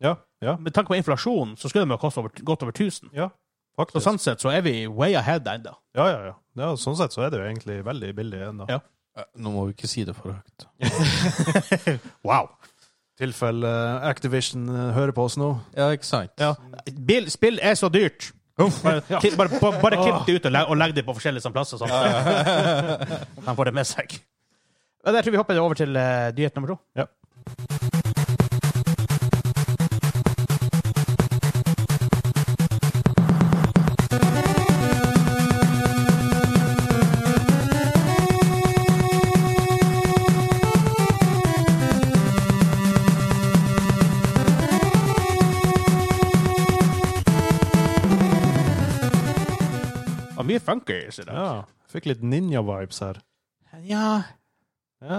A: Ja, ja,
B: Med tanke på inflasjon, så skulle de ha kosta over, godt over 1000.
A: ja.
B: Så
A: Faktisk.
B: sånn sett så er vi way ahead ennå.
A: Ja, ja, ja. ja. Sånn sett så er det jo egentlig veldig billig ennå.
B: Ja.
C: Eh, Nå må vi ikke si det for høyt.
B: Wow.
A: tilfelle eh, Activision eh, hører på oss nå.
C: Ja, ikke sant?
B: Ja. Bil, spill er så dyrt. Bare, ki- bare, bare, bare klipp det ut og, leg, og legg det på forskjellige sånne plasser, sånn at han får det med seg. Men jeg tror vi hopper over til eh, nyhet nummer to.
A: Ja.
B: Og mye funkers i dag.
A: ja. Fikk litt ninja-vibes her.
B: Ja.
A: Ja.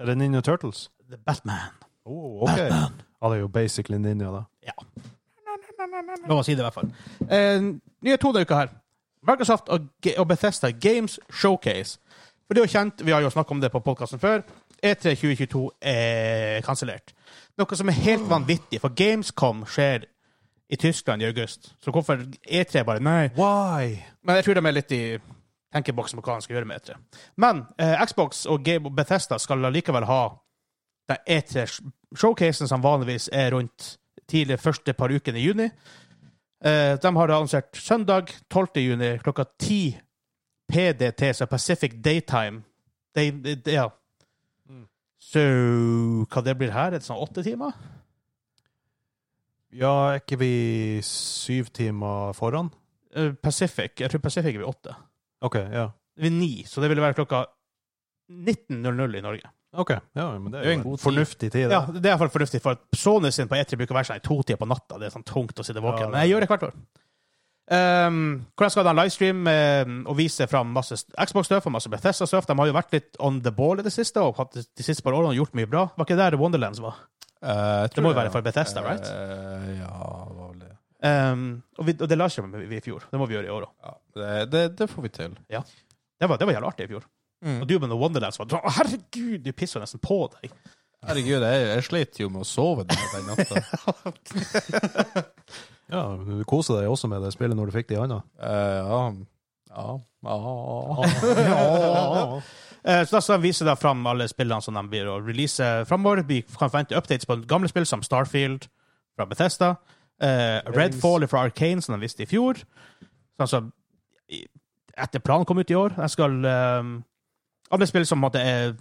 A: Er det Ninja Turtles?
B: The Batman.
A: Oh, OK. Ja, det er jo basically ninja, da.
B: Lov å si det, i hvert fall. Eh, nye to denne uka her. Microsoft og, Ge- og Bethesda Games Showcase. For det er jo kjent, Vi har jo snakket om det på podkasten før. E3 2022 er kansellert. Noe som er helt vanvittig, for Gamescom skjer i Tyskland i august. Så hvorfor E3 bare Nei.
A: Why?
B: Men jeg tror de er litt i tenkeboksen på hva de skal gjøre med E3. Men eh, Xbox og Game og Bethesda skal allikevel ha den E3-showcasen som vanligvis er rundt tidlig første par ukene i juni. Eh, de har annonsert søndag 12. juni klokka 10 PDT, så Pacific Daytime. Day, day, ja.
A: Mm.
B: Så hva det blir her? Er det sånn åtte timer?
A: Ja, er ikke vi syv timer foran?
B: Eh, Pacific. Jeg tror Pacific blir åtte.
A: OK, ja.
B: Det blir ni, så det ville være klokka 19.00 i Norge.
A: Ok, ja, men Det
C: Det er
A: er
C: jo en
A: jo
C: god
A: en
C: tid.
A: fornuftig tid.
B: Ja,
A: da.
B: det er i hvert fall fornuftig, for at Sony sin på E3 bruker å være sånn i to tider på natta. Det er sånn tungt å sitte våken.
A: Ja,
B: Men jeg gjør det hvert år. Um, hvordan skal de ha en livestream ehm, og vise fram masse Xbox-stuff og masse Bethesda-stuff? De har jo vært litt on the ball i det siste og hatt de siste par årene og gjort mye bra. Var ikke der Wonderlands var?
C: Eh, jeg tror
B: Det må jo være for Bethesda,
C: Eh,
B: right?
C: ja, hva var det?
B: Um, og, vi, og det livestreamet vi, vi i fjor. Det må vi gjøre i år òg.
C: Ja, det, det, det får vi til.
B: Det var, det var jævlig artig i fjor. Og Doom and Wonderlands var Å, herregud, du pisser nesten på deg!
C: Herregud, jeg, jeg slet jo med å sove den, den natta.
A: Ja, Du koser deg også med det spillet når du fikk det i handa.
C: Eh, ja. Ja. ja.
B: Eh, Så da skal de vise da fram alle spillene som de blir å release framover. Vi kan forvente updates på gamle spill som Starfield fra Bethesda, eh, Redfall fra Arcane, som de viste i fjor. Sånn som i- etter planen kom ut i år. Jeg skal eh, Alle spill som på en måte er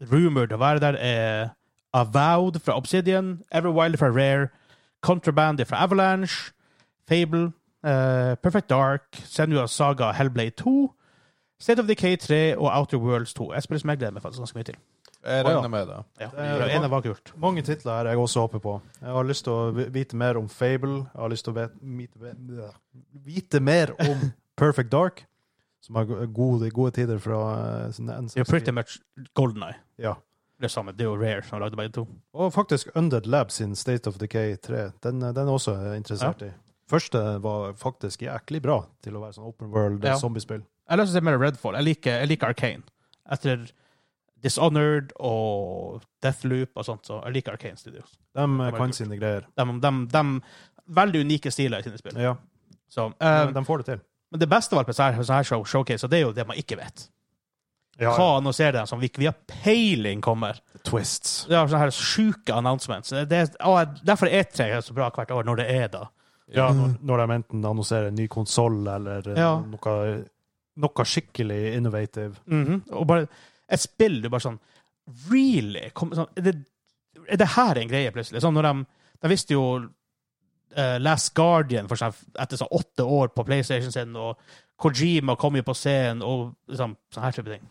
B: rumored å være der, er Avowed fra Obsidian, Everwild fra Rare, Contraband fra Avalanche, Fable, eh, Perfect Dark, Senua Saga Hellblade 2, State of Decay 3 og Outer Worlds 2. Et spill som jeg gleder meg faktisk ganske mye til.
C: Jeg
A: Å, ja.
C: regner med det.
B: Ja,
A: Det er-
B: det ene var kult.
A: Mange titler her jeg også håper på. Jeg har lyst til å vi- vite mer om Fable. Jeg har lyst til å vet- vite, ve- vite mer om Perfect Dark, som har go- gode, gode tider fra eh, sin
B: Det er jo pretty
A: N64.
B: much golden eye.
A: Ja.
B: Det samme. Det er jo Rare som lagde begge to.
A: Og faktisk Undead Lab sin State of Decay 3. Den, eh, den er også jeg interessert i. Første var faktisk jæklig bra til å være sånn open world eh,
B: Ja.
A: zombiespill.
B: Jeg har lyst til å se mer Redfall. Jeg liker, jeg liker Arcane. Etter Dishonored og Deathloop og sånt, så jeg liker Arcane Studios.
A: De eh,
B: var
A: kan
B: kult.
A: sine greier.
B: De, de, de veldig unike stiler i sine spill.
A: Ja,
B: Så, eh,
A: de, de får det til.
B: men det beste av alt med sånne her- sånne her show, showcase, og det er jo det man ikke vet.
A: Ja,
B: Hva annonserer de som vi ikke vi har peiling kommer?
A: Twists.
B: Det er sånne her sjuke announcements. Det er, å, derfor er E3 så bra hvert år, når det er da.
A: Ja,
C: Mm.
A: når, når de enten annonserer en ny konsoll eller eh,
B: Ja.
A: noe, noe skikkelig innovative.
B: Mhm. Og bare et spill du bare sånn Really? Kom, sånn, er, det, er det her en greie, plutselig? Sånn når de, de visste jo eh, Last Guardian for eksempel, etter sånn åtte år på PlayStation sin, og Kojima kom jo på scenen, og liksom, sånn her type ting.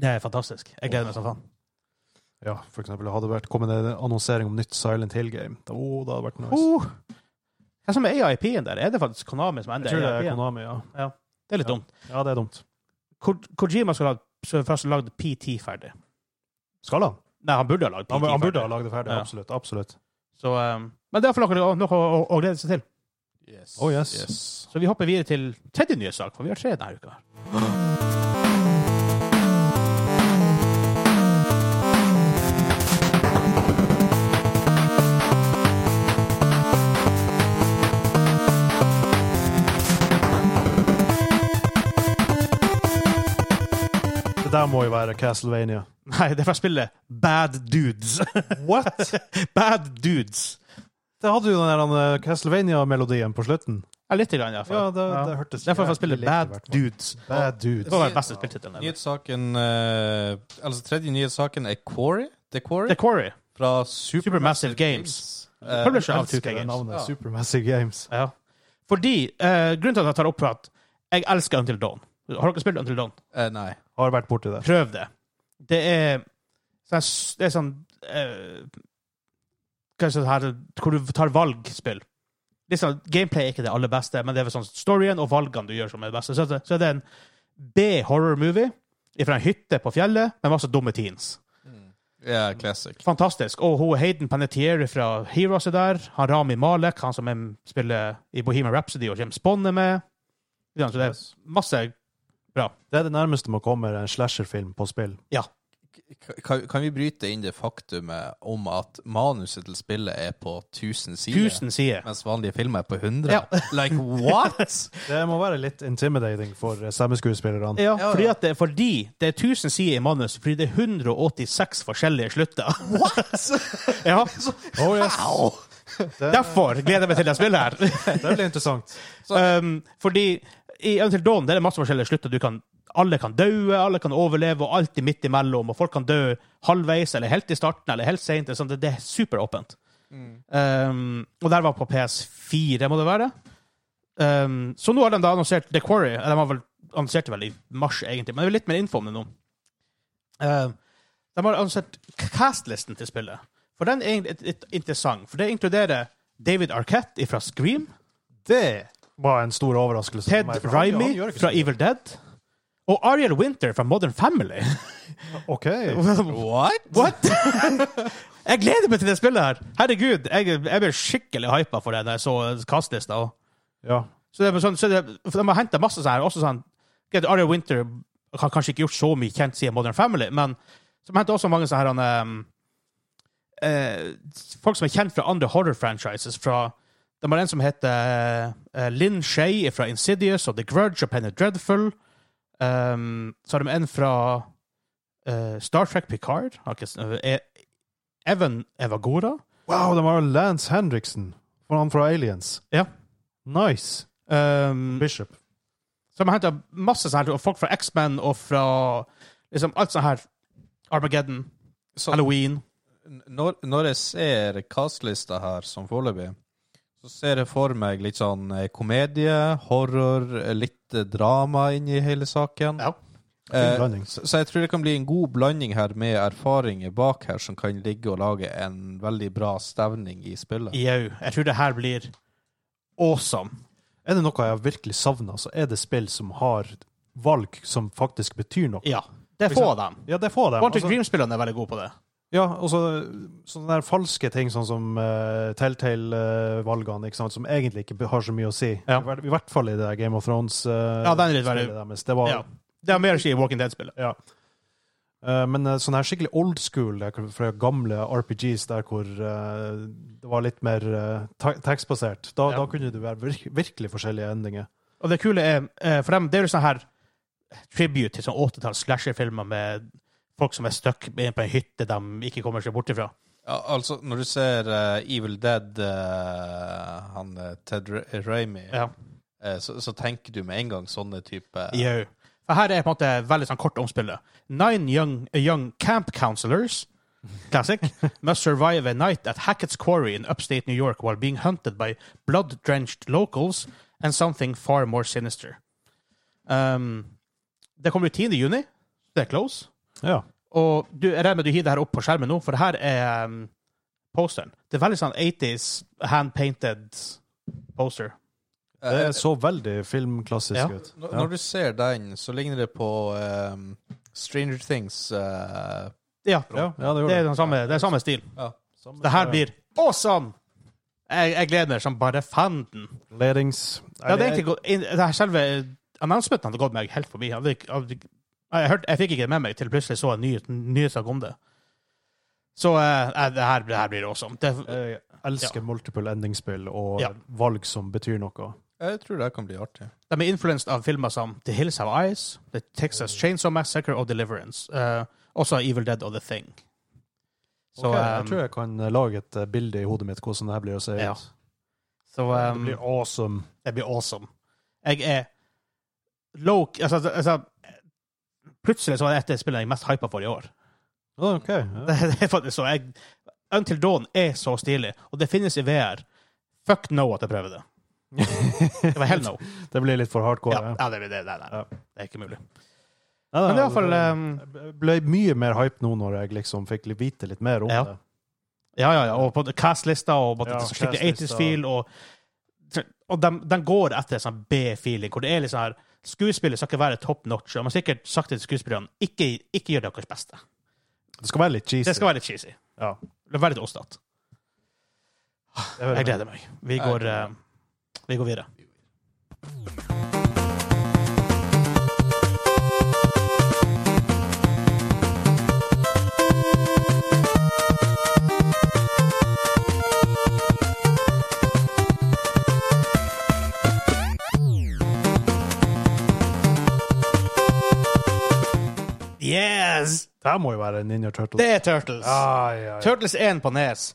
B: Det er fantastisk. Jeg gleder meg som faen.
A: Ja, for eksempel hadde det vært kommet en annonsering om nytt Silent Hill-game. Da, oh, det hadde vært nice.
B: Uh, hva som er AIP-en der? Er det faktisk Konami som
A: jeg
B: ender
A: tror det er
B: AIP-en?
A: Konami, ja.
B: Det er litt
A: Ja.
B: dumt.
A: Ja, det er dumt.
B: Ko Kojima skulle ha skulle først lagd PT ferdig.
A: Skal han?
B: Nei, han burde ha lagd PT
A: Han, han burde ha
B: ferdig.
A: lagd det ferdig.
B: Ja.
A: Absolutt. absolutt.
B: Så, eh, men det er iallfall noe, noe å, å glede seg til.
C: Yes.
A: Oh, yes.
B: Så vi hopper videre til tredje nye sak, for vi har tre denne uka.
A: Det der må jo være Castlevania.
B: Nei, det er fra spillet Bad Dudes.
A: What?!
B: Bad Dudes.
A: Det hadde jo den der, eh, Castlevania-melodien på slutten.
B: Ja, litt. Grann, i hvert fall.
A: Ja, det, det hørtes
B: Derfor får jeg spille
A: jævlig likt
B: Bad
A: ut, i hvert fall.
B: Dudes.
A: Bad Dude.
B: Det var den beste spilltittelen. ever.
C: Nyhetssaken eh, Altså, tredje nyhetssaken er Quarry. The Quarry
B: The Quarry.
C: fra Super Eh,
B: Supermassive Games. Publisher av 2K
A: Elsker det
B: Games.
A: navnet.
C: Ja.
A: Supermassive Games.
B: Ja. Fordi eh, Grunnen til at jeg tar opp for at jeg elsker Until Dawn. Har dere spilt Until Dawn?
C: Eh, nei.
A: Har vært borti det.
B: Prøv det. Det er sånn, det er sånn eh, Hva skal jeg si her Hvor du tar valgspill. Liksom, gameplay er ikke det aller beste, men det er vel sånn storyen og valgene du gjør, som er det beste. Så, er det- så er det en B-horror-movie fra en hytte på fjellet med masse dumme teens.
C: Mm. Ja, classic.
B: Fantastisk. Og hun Hayden Panettiere fra Heroes er der. Han Rami Malek, han som er- spiller i Bohemian Rhapsody og James Bond er med. Ja, Så det er masse
A: Det er det nærmeste man kommer en slasherfilm på spill.
C: K- Kan, kan vi bryte inn det faktumet om at manuset til spillet er på 1000 sider,
B: tusen sider.
C: mens vanlige filmer er på 100?
B: Ja.
C: Like what?!
A: Det må være litt intimidating for eh, stemmeskuespillerne.
B: Ja,
C: ja.
B: Fordi, at det, fordi det er 1000 sider i manus, fordi det er 186 forskjellige slutter. ja,
A: Oh, yes.
C: Au!
B: Derfor gleder jeg meg til det spillet her.
A: Det blir interessant.
B: um, fordi i Until Dawn det er det masse forskjellige slutter. Du kan, alle kan daue, alle kan overleve, og alltid midt imellom. Og folk kan dø halvveis, eller helt i starten, eller helt seint. Det, er sånn, det- det er superåpent.
A: Mm.
B: Um, og der var på PS4, må det være. Um, så nå har de da annonsert The Quarry. De har vel annonsert det vel i mars, egentlig, men det er litt mer info om det nå. Um, de har annonsert castlisten til spillet. For den er egentlig litt- litt interessant, for det inkluderer David Arquette fra Scream.
A: Det var en stor overraskelse. for
B: Ted
A: meg, for han- han
B: Rimey
A: gjør ikke
B: fra
A: så mye.
B: Evil Dead. Og Ariel Winter fra Modern Family.
A: OK.
C: What?!
B: What?! jeg gleder meg til det spillet her! Herregud, jeg, jeg ble skikkelig hypa for det da jeg så kastlista. og-
A: Ja.
B: Så det er sånn, så det, for de har henta masse sånn her. Også sånn Get Ariel Winter har kanskje ikke gjort så mye kjent siden Modern Family, men så de henter også mange sånne her han, eh, eh, Folk som er kjent fra andre horror-franchises. fra De har en som heter eh, Lynn Shay fra Insidious og The Grudge og Penny Dreadful. Um, så har de en fra eh, Star Trek Picard. Har ikke, s- eh, Evan Evagora.
A: Wow, det var Lance Henriksen. For han fra Aliens.
B: Ja.
A: Nice.
B: Um,
A: Bishop.
B: Så de har hentet masse sånn her, og folk fra X-Men og fra liksom alt sånn her. Armageddon,
C: Så
B: Halloween.
C: n- når, når jeg ser castlista her, som foreløpig, så ser jeg for meg litt sånn eh, komedie, horror, eh, litt eh, drama inni hele saken.
B: Ja.
A: Fin
C: Eh,
A: blanding.
C: så, så jeg tror det kan bli en god blanding her med erfaringer bak her som kan ligge og lage en veldig bra stevning i spillet.
B: Jau. E Jeg tror det her blir awesome.
A: Er det noe jeg har virkelig savna, så er det spill som har valg som faktisk betyr noe.
B: Ja. Det får de.
A: Ja, det får de.
B: Quantic
A: Altså,
B: Dream-spillerne er veldig gode på det.
A: ja, og så- sånne der falske ting, sånn som eh, Telltale-valgene, ikke sant, som egentlig ikke har så mye å si.
B: Ja.
A: I hvert- I hvert fall i det Game of Thrones. eh,
B: Ja, den er litt
A: spillet
B: verre.
A: deres. Det var,
B: Ja. Det er mer å si i Walking Dead-spillet.
A: Eh, men eh, sånn her skikkelig old school, der, hvor- fra gamle RPGs, der hvor eh, det var litt mer eh, ta- tekstbasert, da,
B: Ja.
A: da kunne det være virk virkelig forskjellige endinger.
B: Og det kule er, eh, for dem, det er jo sånn her tribute til sånn 80-talls slasher-filmer med folk som er stuck inne på en hytte de ikke kommer seg bort ifra.
C: Ja, altså, når du ser eh, Evil Dead, eh, han eh, Ted Ra- Raimi,
B: Ja.
C: eh, så, så tenker du med en gang sånne type eh,
B: Jau. For her er på en måte veldig sånn kort omspillet. Nine young, eh, young camp counselors classic, must survive a night at Hackett's Quarry in upstate New York while being hunted by blood-drenched locals and something far more sinister. Um, det kommer ut 10. juni. Det er close.
A: Ja.
B: Og du, jeg regner med du hiver det her opp på skjermen nå, for det her er um, posteren. Det er veldig sånn 80s hand-painted poster.
A: Det
C: Eh,
A: så veldig filmklassisk
B: Ja.
A: ut.
C: når,
A: Ja.
C: når du ser den, så ligner det på eh, Stranger Things. eh,
A: Ja,
B: Ja,
A: ja, det
B: det
A: gjorde
B: er den samme, det er samme stil.
C: ja.
A: det.
B: Det her blir awesome! Jeg, jeg gleder meg som bare fanden.
A: Ledings.
B: Jeg hadde egentlig gått inn, det her selve announcementen hadde gått meg helt forbi. Jeg, hadde, ikke- jeg, hadde ikke- jeg, hørte, jeg fikk ikke det med meg til plutselig så en nyhet, nyhetssak om det. Så eh, eh, det, her, det her blir awesome. Det,
A: Jeg elsker multiple ending-spill og
B: Ja.
A: valg som betyr noe.
C: Jeg tror det kan bli artig.
B: de er influenced av filmer som The Hills Have Eyes, The Texas Chainsaw Massacre og Deliverance. eh, også Evil Dead og The Thing. Så,
A: Ok, jeg
B: um,
A: tror jeg kan eh, lage et eh, bilde i hodet mitt hvordan det her blir å se ut.
B: Ja. så
A: det
B: um,
A: blir awesome.
B: Det blir awesome. Jeg er low altså, altså, Plutselig så er dette spillet jeg er mest hypa for i år.
A: Ja, OK. Ja.
B: Det, det er faktisk så. Jeg, Until Dawn er så stilig, og det finnes i VR. Fuck no at jeg prøver det. Det var hell no.
A: det blir litt for hardcore. ja.
B: Ja, ja, det, det, det, det,
A: Ja.
B: det er ikke mulig.
A: Nei, nei,
B: Men det er i
A: altså,
B: hvert fall
A: det-
B: um,
A: Jeg ble mye mer hype nå når jeg liksom fikk li- vite litt mer om
B: Ja.
A: det.
B: Ja, ja, ja. Og på cast-lista, og på
A: Ja,
B: det er så skikkelig
A: cast-lista.
B: 80s-feel, og og den går etter en sånn B-feeling, hvor det er litt sånn her Skuespillet skal ikke være top notch, og man har sikkert sagt til skuespillerne ikke, ikke gjør deres beste.
A: Det skal være litt cheesy.
B: Det skal være litt cheesy.
A: Ja.
B: Det er veldig ostete. Jeg gleder meg. Vi
C: Jeg
B: går,
C: gleder
B: eh, vi går videre. Yes!
A: Det her må jo være Ninja Turtles.
B: Det er Turtles.
A: Ai, ai, ai.
B: Turtles 1 på E nes.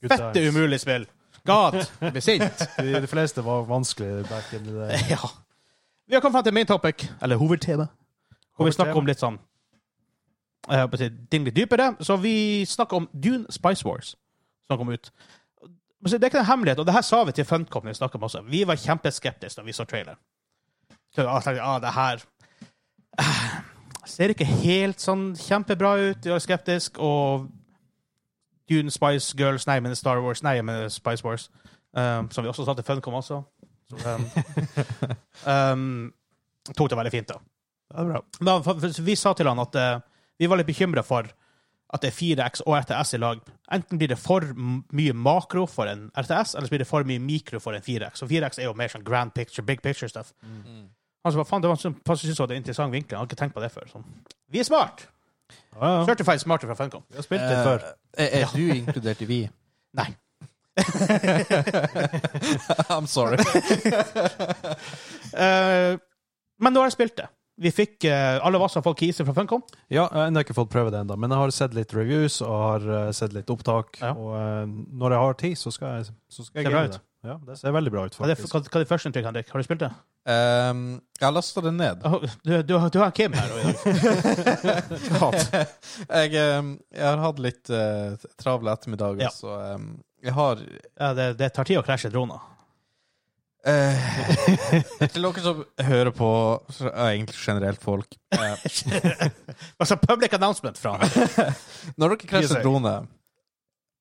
A: Good
B: Fette
A: times.
B: umulig spill. God blir sint.
A: De, de fleste var vanskelig back in the day.
B: ja. Vi har kommet frem til main topic, eller hovedtema, hvor vi snakker om litt sånn eh, på å si, ting litt dypere. Så vi snakker om Dune Spice Wars, som kom ut. Men så Det er ikke en hemmelighet, og det her sa vi til Funcom. når Vi snakket med oss. Vi var kjempeskeptiske da vi så traileren. Så jeg tenkte, ah, det her eh, ser ikke helt sånn kjempebra ut. Jeg var skeptisk, og Dune Spice Girls, nei, men Star Wars, nei, men Spice Wars. Um, som vi også sa til Funcom også. Så, um, um, tok det veldig fint, da.
A: Det er bra.
B: Men han- for- vi sa til han at eh, vi var litt bekymra for at det er 4X og RTS i lag. Enten blir det for m- mye makro for en RTS, eller så blir det for mye mikro for en 4X. Og 4X er jo mer sånn grand picture, big picture stuff. Han sa faen, det var sånn, han syntes det var en interessant vinkel. Han hadde ikke tenkt på det før. Sånn. Vi er smart!
A: Ja, ja.
B: Certified smarter fra Funcom.
A: Vi har spilt litt før.
C: Eh, er, er du inkludert i vi?
B: Nei.
C: I'm sorry.
B: Eh, men nå har jeg spilt det. Vi fikk eh, alle vassene folk kiser fra Funcom.
A: Ja, jeg har ennå ikke fått prøve det ennå, men jeg har sett litt reviews og har eh, sett litt opptak.
B: Ja.
A: Og eh, når jeg har tid, så skal jeg, så skal
B: Ser
A: jeg
B: bra
A: game
B: ut.
A: det. Ja, det ser veldig bra ut,
B: Hva er det-
A: faktisk.
B: hva hva er det første inntrykk, Henrik? Har du spilt det?
C: Um, jeg har lasta det ned.
B: Åh, Du, du, du har Kim her. og-
C: jeg, em, jeg har hatt litt eh, travle ettermiddager,
B: Ja.
C: så em, jeg har
B: Ja, det, det tar tid å krasje droner.
C: Eh, til dere som hører på, så er jeg egentlig generelt folk eh,
B: Altså public announcement fra
C: Når dere
A: PSA.
C: krasjer drone,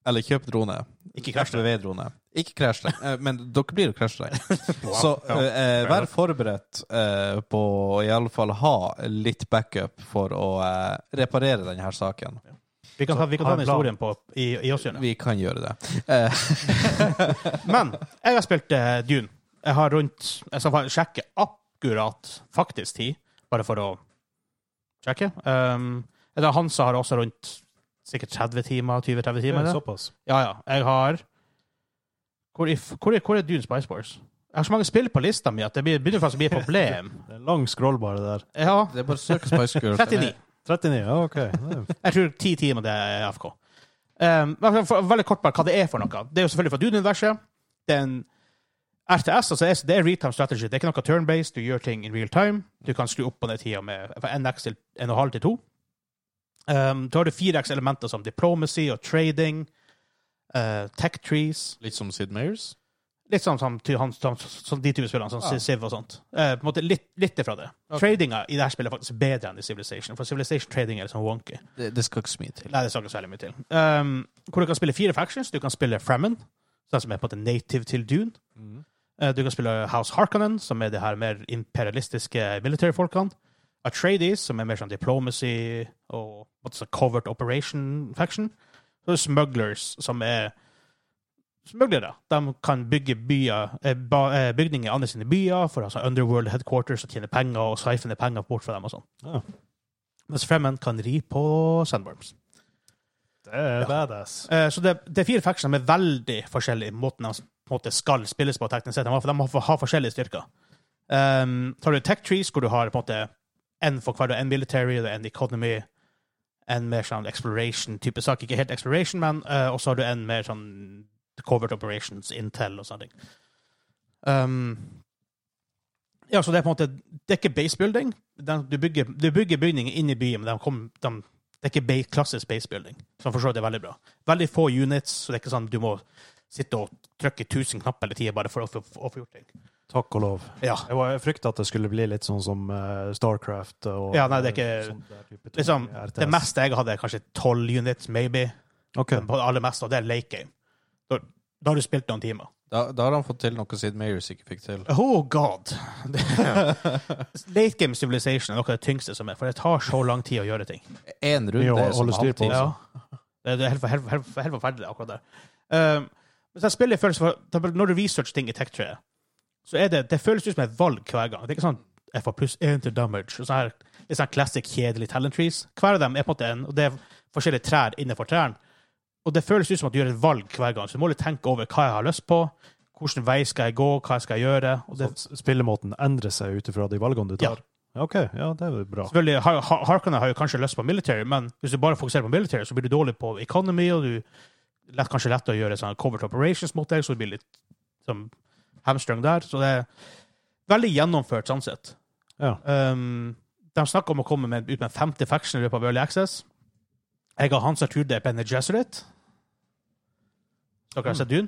C: eller kjøper drone
B: Ikke krasj det.
C: ved drone Ikke krasj det, eh, men dere blir å krasje det. Så
A: ja.
C: eh, vær forberedt eh, på å i alle fall ha litt backup for å eh, reparere denne her saken.
B: Vi kan ta, vi kan ta
A: Har
B: den
A: en plan.
B: historien på, i, i oss igjen.
C: Vi kan gjøre det. Eh,
B: Men jeg har spilt eh, Dune. Jeg har rundt Jeg skal fa- sjekke akkurat faktisk tid, bare for å sjekke. Um, jeg tror Hansa har også rundt sikkert 30 timer, 20-30
A: Det
B: timer.
A: er
B: i det.
A: såpass.
B: Ja, ja. Jeg har Hvor, i f- hvor, er- hvor er Dune Spice Boys? Jeg har så mange spill på lista mi at det blir- begynner faktisk å bli et problem.
A: Det er en lang scroll bare det der.
B: Ja,
C: det er bare å søke Spice Girls.
B: 39.
A: 39, ja, OK. Det er-
B: Jeg tror ti timer det er AFK. Um, men for- veldig kort bare hva det er for noe. Det er jo selvfølgelig fra Dune-universet. Det er en RTS, altså det er- det er real-time strategy. Det er ikke noe turn-based. Du gjør ting in real time. Du kan skru opp og ned tida med fra 1x til 1,5 til 2. Um, da har du 4x elementer som diplomacy og trading, eh, tech trees
C: Litt som Sid Meyers.
B: Litt sånn som, ty- han- som, som de type spillene, som
C: Ja.
B: Civ og sånt. Eh, på en måte litt, litt ifra det.
C: Ok.
B: Tradinga i det her spillet er faktisk bedre enn i Civilization, for Civilization-trading er litt sånn wonky.
C: Det, det skal ikke så mye til.
B: Nei, det snakker så veldig mye til. Um, hvor du kan spille fire factions. Du kan spille Fremen, som er på en måte native til Dune.
A: mm.
B: Eh, Du kan spille House Harkonnen, som er det her mer imperialistiske militærfolkene. Atreides, som er mer sånn diplomacy og på en måte sånn covert operation faction. Og smugglers, som er smuglere. De kan bygge byer, eh, ba- eh, bygninger i andre sine byer for altså underworld headquarters og tjene penger og seifene penger bort fra dem og sånn.
A: Ja.
B: Mens Fremen kan ri på sandworms.
A: Det er badass.
B: Eh, Så det, det er fire factioner med veldig forskjellig måten de på en måte skal spilles på teknisk sett. De har, for de har, har forskjellige styrker. Um, så har du tech trees, hvor du har på en måte en for hver, en military, det er en economy, en mer sånn exploration-type sak. Ikke helt exploration, men eh, også har du en mer sånn covert operations, intel og sånne ting. Um, ja, så det er på en måte Det er ikke base building. Den- Du bygger, du bygger bygninger inn i byen, men de kom, de, det er ikke ba- klassisk base building. Så for så vidt er det veldig bra. Veldig få units, så det er ikke sånn du må sitte og trykke 1000 knapper hele tida bare for å få å få gjort ting.
A: Takk og lov.
B: Ja.
A: Jeg, var, jeg frykta at det skulle bli litt sånn som eh, Starcraft og
B: Ja, nei, det er ikke-
A: sånn der type ting.
B: Liksom,
A: RTS.
B: det meste jeg hadde, er kanskje 12 units, maybe.
A: OK.
B: På det aller meste, og det er late game. Da, da har du spilt noen timer.
C: Da, da har han fått til noe Sid Meyers ikke fikk til.
B: Oh god! late game civilization er noe av det tyngste som er, for det tar så lang tid å gjøre ting.
C: Én runde
A: Mye å
C: er som
A: holde styr på.
C: halvtid.
A: også.
B: Det det er helt, for- helt, for- helt, for- helt forferdelig, akkurat der. Um, hvis jeg spiller føles for, da- Når du researcher ting i tech-treet, så er det, det føles ut som et valg hver gang. Det er ikke sånn jeg får pluss én til damage. Og sånn her, litt sånn classic, kjedelig talent trees. Hver av dem er på en måte en, og det er forskjellige trær innenfor trærne. Og det føles ut som at du gjør et valg hver gang. Så du må litt tenke over hva jeg har lyst på, hvilken vei skal jeg gå, hva jeg skal gjøre. Og det,
A: Så at spillemåten endrer seg ut ifra de valgene du tar? OK, ja, det er jo bra.
B: Selvfølgelig, Har- Har- Harkonnen har jo kanskje lyst på military, men hvis du bare fokuserer på military, så blir du dårlig på economy, og du lett, kanskje lett å gjøre sånn covert operations mot deg, så du blir litt som hamstrung der. Så det er veldig gjennomført, sånn sett.
A: Ja.
B: Um, de snakker om å komme med, ut med en femte faction i løpet av Early Access. Jeg har Hansa Turde Bene Jesuit. Dere har sett Dune?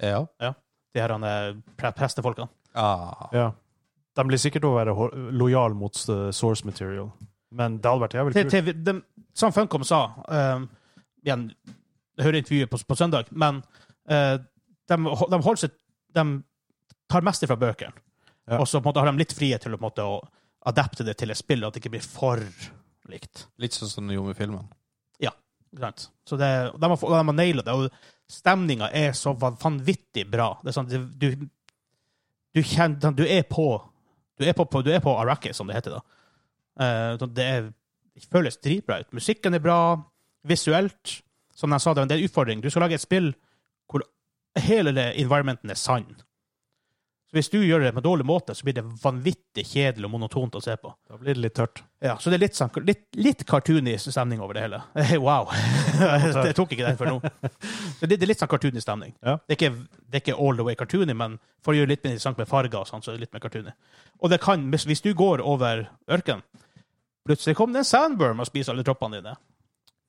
C: Ja.
B: De her han, eh, pre- prestefolkene.
C: Ah.
A: Ja. De blir sikkert å være ho- lojal mot eh, source material, men det hadde vært jævlig
B: til,
A: kult.
B: til, de, som Funcom sa um, igjen, Jeg hører intervjuet på, på søndag, men eh, de, hol- de, holder seg, de tar mest fra bøkene.
A: Ja.
B: Og så på en måte har de litt frihet til å, på en måte, å adapte det til et spill, og at det ikke blir for likt.
C: Litt sånn som de gjorde med filmen.
B: Ikke sant? Så det, de, har, få- de har naila det, og stemninga er så van- vanvittig bra. Det er sånn, du, du, du, kjenner, du er på Du er på, på, du er på Arrakis, som det heter. da. Eh, sånn, det, er, det føles dritbra ut. Musikken er bra. Visuelt, som de sa, det er en del utfordring. Du skal lage et spill hvor hele det environmenten er sand. Så Hvis du gjør det på en dårlig måte, så blir det vanvittig kjedelig og monotont å se på.
A: Da blir det litt tørt.
B: Ja, så det er litt, sånn, litt, litt cartoony stemning over det hele. Eh, Wow! jeg tok ikke den før nå. Så det, det er litt sånn cartoony stemning.
A: Ja.
B: Det, er ikke, det er ikke all the way cartoony, men for å gjøre litt mer interessant med farger og sånn, så er det litt mer cartoony. Og det kan, hvis, hvis du går over ørken, plutselig kommer det en sandworm og spiser alle troppene dine.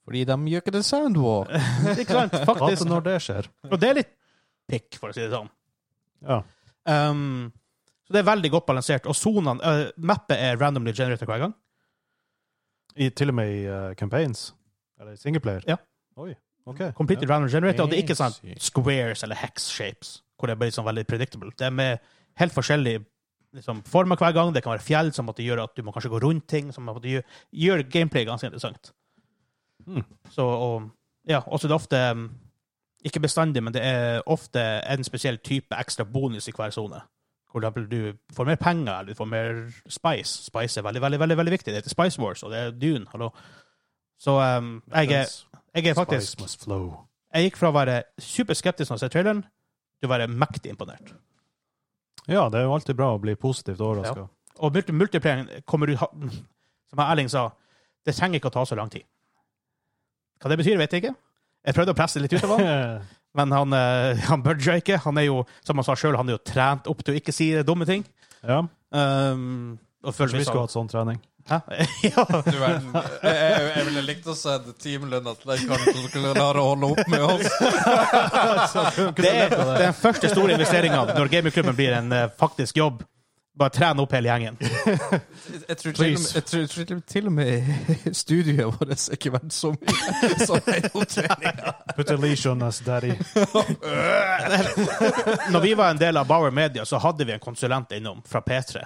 C: Fordi de gjør ikke det soundwalk.
B: Ikke sant?
A: Hater
B: Faktisk.
A: når det skjer.
B: Og det er litt pikk, for å si det sånn.
A: Ja.
B: Um, så det er veldig godt balansert. Og sonene eh, Mappet er randomly generated hver gang.
A: I, til og med i eh, campaigns? Eller i singleplayer?
B: Ja. Mm.
A: Oi, OK.
B: Completely
A: ja.
B: randomly generated, og det er ikke sånn
C: Crazy.
B: squares eller hex shapes, hvor det er bare sånn veldig predictable. Det er med helt forskjellige liksom, former hver gang. Det kan være fjell som måtte gjøre at du må kanskje gå rundt ting, som måtte gjøre, gjør gameplay ganske interessant.
A: Mm.
B: Så, og, ja, og så er det ofte um, ikke bestandig, men det er ofte en spesiell type ekstra bonus i hver sone. Hvor da blir du får mer penger, eller du får mer spice. Spice er veldig, veldig, veldig, veldig viktig. Det heter Spice Wars, og det er Dune, hallo. Så um, jeg, er, jeg er faktisk
A: Spice must flow.
B: jeg gikk fra å være superskeptisk når jeg ser traileren, til å være mektig imponert.
A: Ja, det er jo alltid bra å bli positivt overraska.
B: Og multi multiplayeren kommer ut ha- Som Erling sa, det trenger ikke å ta så lang tid. Hva det betyr, vet jeg ikke. Jeg prøvde å presse det litt ut av han, men han, eh, han budger ikke. Han er jo, som han sa sjøl, han er jo trent opp til å ikke si dumme ting.
A: ja.
B: Um, og
A: Kanskje
B: føler
A: vi skulle
B: sånn
A: hatt sånn trening.
B: Hæ? ja.
C: Du verden. Jeg, jeg, jeg ville likt å se timelønna til den karen som skulle klare å holde opp med oss.
B: Det er den første store investeringa når gamingklubben blir en eh, faktisk jobb. Bare trene opp hele gjengen.
C: Jeg tror til og med- jeg tror- jeg tror til og med- til og med studioet vårt er ikke verdt så mye som en opptrening.
A: Put a leash on us, daddy.
B: Når vi var en del av Bauer Media, så hadde vi en konsulent innom fra P3.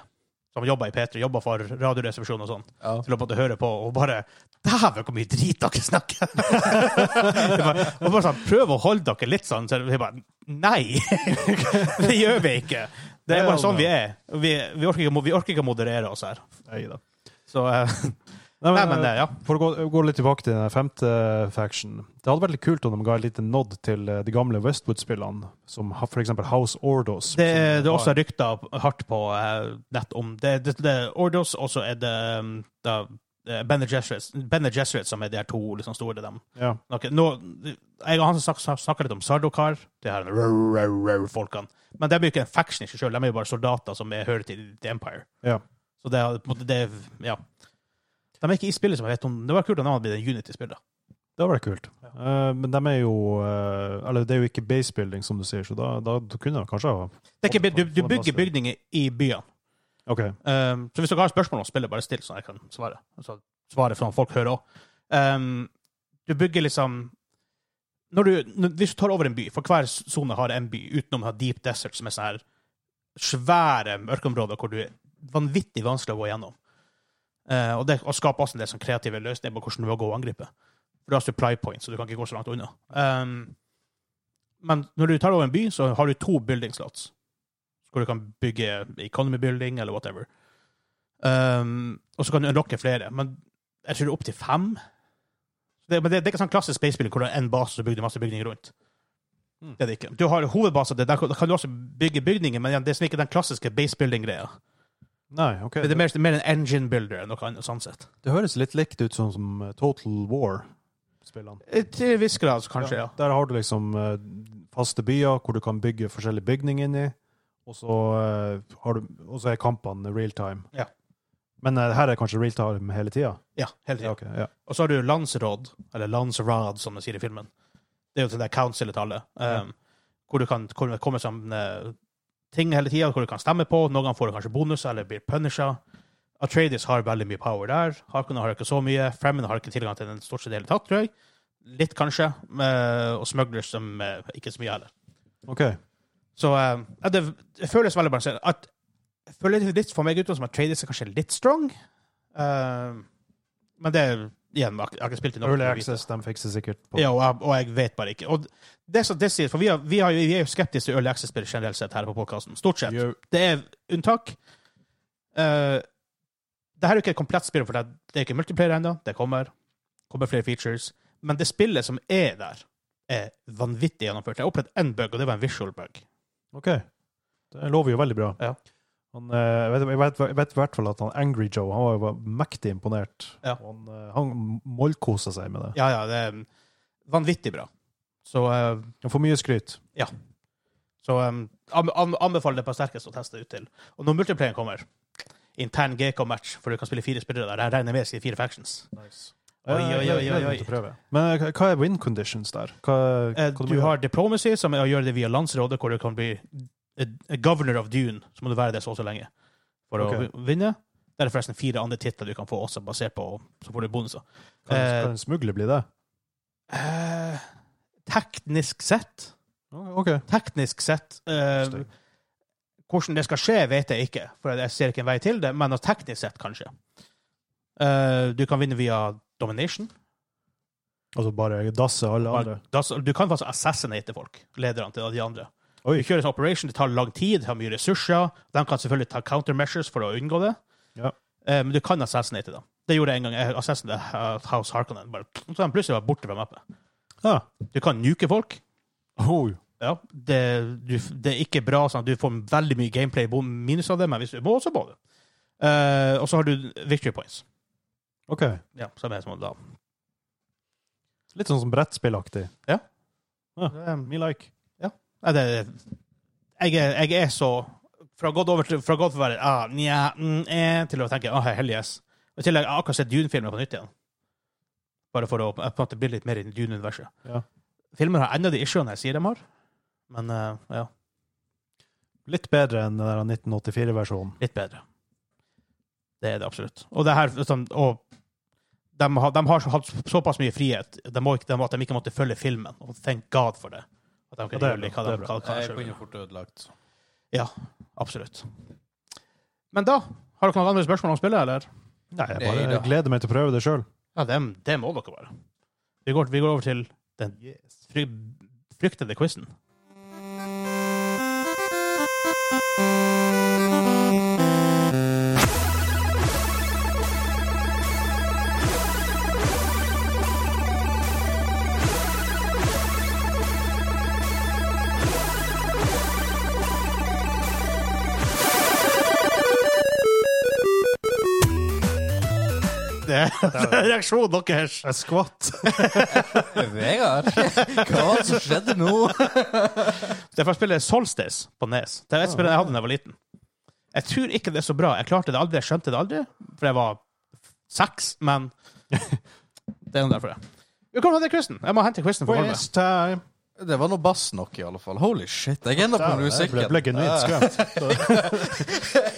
B: Som jobba i P3, jobba for Radioresepsjonen og sånn.
C: Ja.
B: Til å måtte høre på og bare Dæven, hvor mye drit dere snakker! Det bare, og bare sånn, Prøv å holde dere litt sånn. Så vi bare Nei! Det gjør vi ikke! Det er bare sånn vi er. Vi, vi, orker, ikke, vi orker ikke å moderere oss her.
A: Neida.
B: Så eh,
A: Nei,
B: Nei,
A: men,
B: men det, ja.
A: For å gå, gå litt tilbake til den her femte faction. Det hadde vært litt kult om de ga et lite nod til eh, de gamle Westwood-spillene, som ha- for eksempel House Ordos.
B: Det,
A: som
B: det er
A: har-
B: også rykter hardt på eh, nett om det. Det, det er Ordos, og så er det um, da, eh, Bene Gesserit, Bene Gesserit, som er de her to liksom, store dem.
A: Ja.
B: Ok, nå, jeg og han som snak, snakker litt om Sardokar, det her rau, rau, rau, folkene. Men de er jo ikke en faction i seg selv, de er jo bare soldater som er hører til The Empire.
A: Ja.
B: Så det er på en måte det er- Ja. De er ikke i spillet som jeg vet om. Det var kult om de hadde blitt en Unity-spiller.
A: Det hadde vært kult. Eh, men de er jo eh, Eller det er jo ikke basebuilding, som du sier, så da, da du kunne de kanskje ha
B: Det er ikke- Du, du bygger bygninger i byene.
A: OK.
B: Um, så hvis dere har spørsmål om spillet, bare still, så jeg kan svare. Altså, svare sånn at folk hører òg. Um, du bygger liksom når du, når, Hvis du tar over en by, for hver sone har en by, utenom å ha Deep Desert, som er sånne her svære ørkenområder hvor du er vanvittig vanskelig å gå gjennom. Eh, og det og skaper også en del sånn kreative løsninger på hvordan du må gå og angripe. For du har supply points, så du kan ikke gå så langt unna. Um, men når du tar over en by, så har du to building slots. Hvor du kan bygge economy building eller whatever. Um, og så kan du unlocke flere, men jeg tror det er opptil fem. Det, men det, det er ikke sånn klassisk spacespill hvor du har én base og så bygger du masse bygninger rundt.
A: Mm.
B: Det er det ikke. Du har hovedbaser, det- der kan- da kan du også bygge bygninger, men igjen, det er sånn ikke den klassiske basebuilding-greia.
A: Nei, ok.
B: Det er mer, mer en engine builder enn noe annet, sånn sett.
A: Det høres litt likt ut sånn som eh, Total War-spillene.
B: Eh, Til en viss grad, så kanskje, ja.
A: Der har du liksom eh, faste byer hvor du kan bygge forskjellige bygninger inni, og så, eh, har du, og så er kampene real time.
B: Ja.
A: Men eh, her er kanskje real time hele tida?
B: Ja, hele tiden.
A: Ja, ok, ja.
B: Og så har du landsråd, eller landsråd, som de sier i filmen. Det er jo til det council-tallet, um, hvor du kan hvor det kommer som eh, ting hele tida, hvor du kan stemme på. Noen ganger får du kanskje bonuser eller blir punisha. Atreides har veldig mye power der. Hakona har ikke så mye. Fremen har ikke tilgang til den stort sett i det hele tatt, tror jeg. Litt, kanskje. eh, og Smugglers som eh, ikke så mye heller.
A: Ok.
B: Så eh, ja, det, det føles veldig balansert. At, det føles litt for meg ut som at Traders er kanskje litt strong. Eh, men det er igjen, jeg har ikke- jeg har ikke spilt i nok.
A: Early
B: til å vite.
A: Access, de fikser sikkert på.
B: Ja, og jeg, og jeg vet bare ikke. Og det som det sier, for vi, har, vi, har, jo- vi er jo skeptiske til Early Access-spill generelt sett her på podkasten. Stort sett.
A: Jo.
B: Det er unntak. Uh, det her er jo ikke et komplett spill, for det er, det er ikke multiplayer ennå. Det kommer. kommer flere features. Men det spillet som er der, er vanvittig gjennomført. Jeg har opplevd én bug, og det var en visual bug.
A: Ok. Det lover jo veldig bra.
B: Ja.
A: Han, eh, jeg vet- jeg vet- jeg vet i hvert fall at han Angry Joe han var jo mektig imponert.
B: Ja.
A: Og Han, eh, han mollkosa seg med det.
B: Ja, ja, det er um, vanvittig bra. Så, eh,
A: Han får mye skryt.
B: så eh, an- an- anbefaler det på sterkeste å teste ut til. Og når multiplayeren kommer, intern GK-match, for du kan spille fire spillere der, jeg regner med sine fire factions. Oi,
A: Eh,
B: oi, oi, oi, oi.
A: jeg gleder meg til å prøve. Men eh, hva er win conditions der? Hva,
B: Eh,
A: hva
B: Du har diplomacy, som er å gjøre det via landsrådet, hvor du kan bli eh, governor of Dune, så må du være det så og så lenge for
A: Ok.
B: å vi- vinne. Det er forresten fire andre titler du kan få også, basert på så får du bonuser.
A: Kan,
B: Eh,
A: kan en smugler bli det?
B: Eh, teknisk sett
A: OK.
B: Teknisk sett eh,
A: Stygg.
B: Hvordan det skal skje, vet jeg ikke, for jeg ser ikke en vei til det, men at teknisk sett kan skje. Eh, du kan vinne via domination.
A: Altså bare dasse alle andre?
B: Bare- da- Du kan faktisk assassinate folk, lederne til de andre.
A: Oi.
B: Du kjører en operation, det tar lang tid, det har mye ressurser. De kan selvfølgelig ta countermeasures for å unngå det,
A: Ja.
B: Eh, men du kan assassinate dem. Det gjorde jeg en gang. Jeg assassinated House Harkonnen. Bare, så de plutselig var borte fra mappet.
A: Ja.
B: Du kan nuke folk.
A: Oh,
B: Ja, det, du, det er ikke bra. Sånn. Du får veldig mye gameplay bom- minus av det, men hvis du må, så må du. Eh, og så har du victory points.
A: OK.
B: Ja, som er som da.
A: Litt sånn som brettspillaktig.
B: Nei,
A: Me like.
B: det, jeg, er, jeg er så Fra gått over til fra gått for å være ah, nja, mm, eh, til å tenke ah, hell yes. Og I tillegg jeg har akkurat sett Dune-filmen på nytt igjen. Bare for å på en måte bli litt mer i Dune-universet.
A: Ja.
B: Filmen har ennå de issuene jeg sier de har, men eh, ja,
A: Litt bedre enn den der 1984-versjonen.
B: litt bedre. Det er det absolutt. Og det her, sånn, og de, har, de har så- hatt såpass mye frihet de må ikke, de, at de ikke måtte følge filmen. Og thank God for det. At de
A: Ja,
B: kunne
A: det er
B: gjøre litt
A: bra,
B: hva de,
A: det er
B: hva, hva de
C: Jeg
B: selv
C: kunne
B: ville.
C: fort ødelagt.
B: Absolutt. Men da, har dere noen andre spørsmål om spillet, eller?
A: Nei, jeg
C: Nei
A: bare
C: da.
A: jeg gleder meg til å prøve det sjøl.
B: Ja, det, det må dere bare. Vi går, vi går over til den fry, fryktede quizen. Det er reaksjonen deres.
A: Jeg skvatt!
C: Vegard, hva var det som skjedde nå?
B: Det er fra spillet Solstice på Nes. Det er et spill jeg hadde da jeg var liten. Jeg tror ikke det er så bra. Jeg klarte det aldri, jeg skjønte det aldri, for jeg var seks, men Det er noe derfor, det. Vi kommer til quizen. Jeg må hente quizen for Olve.
A: Quiz time!
C: Det var noe bass nok, i alle fall. Holy shit. Jeg er ennå på
A: Jeg ble,
C: musikken.
A: ble genuint skremt.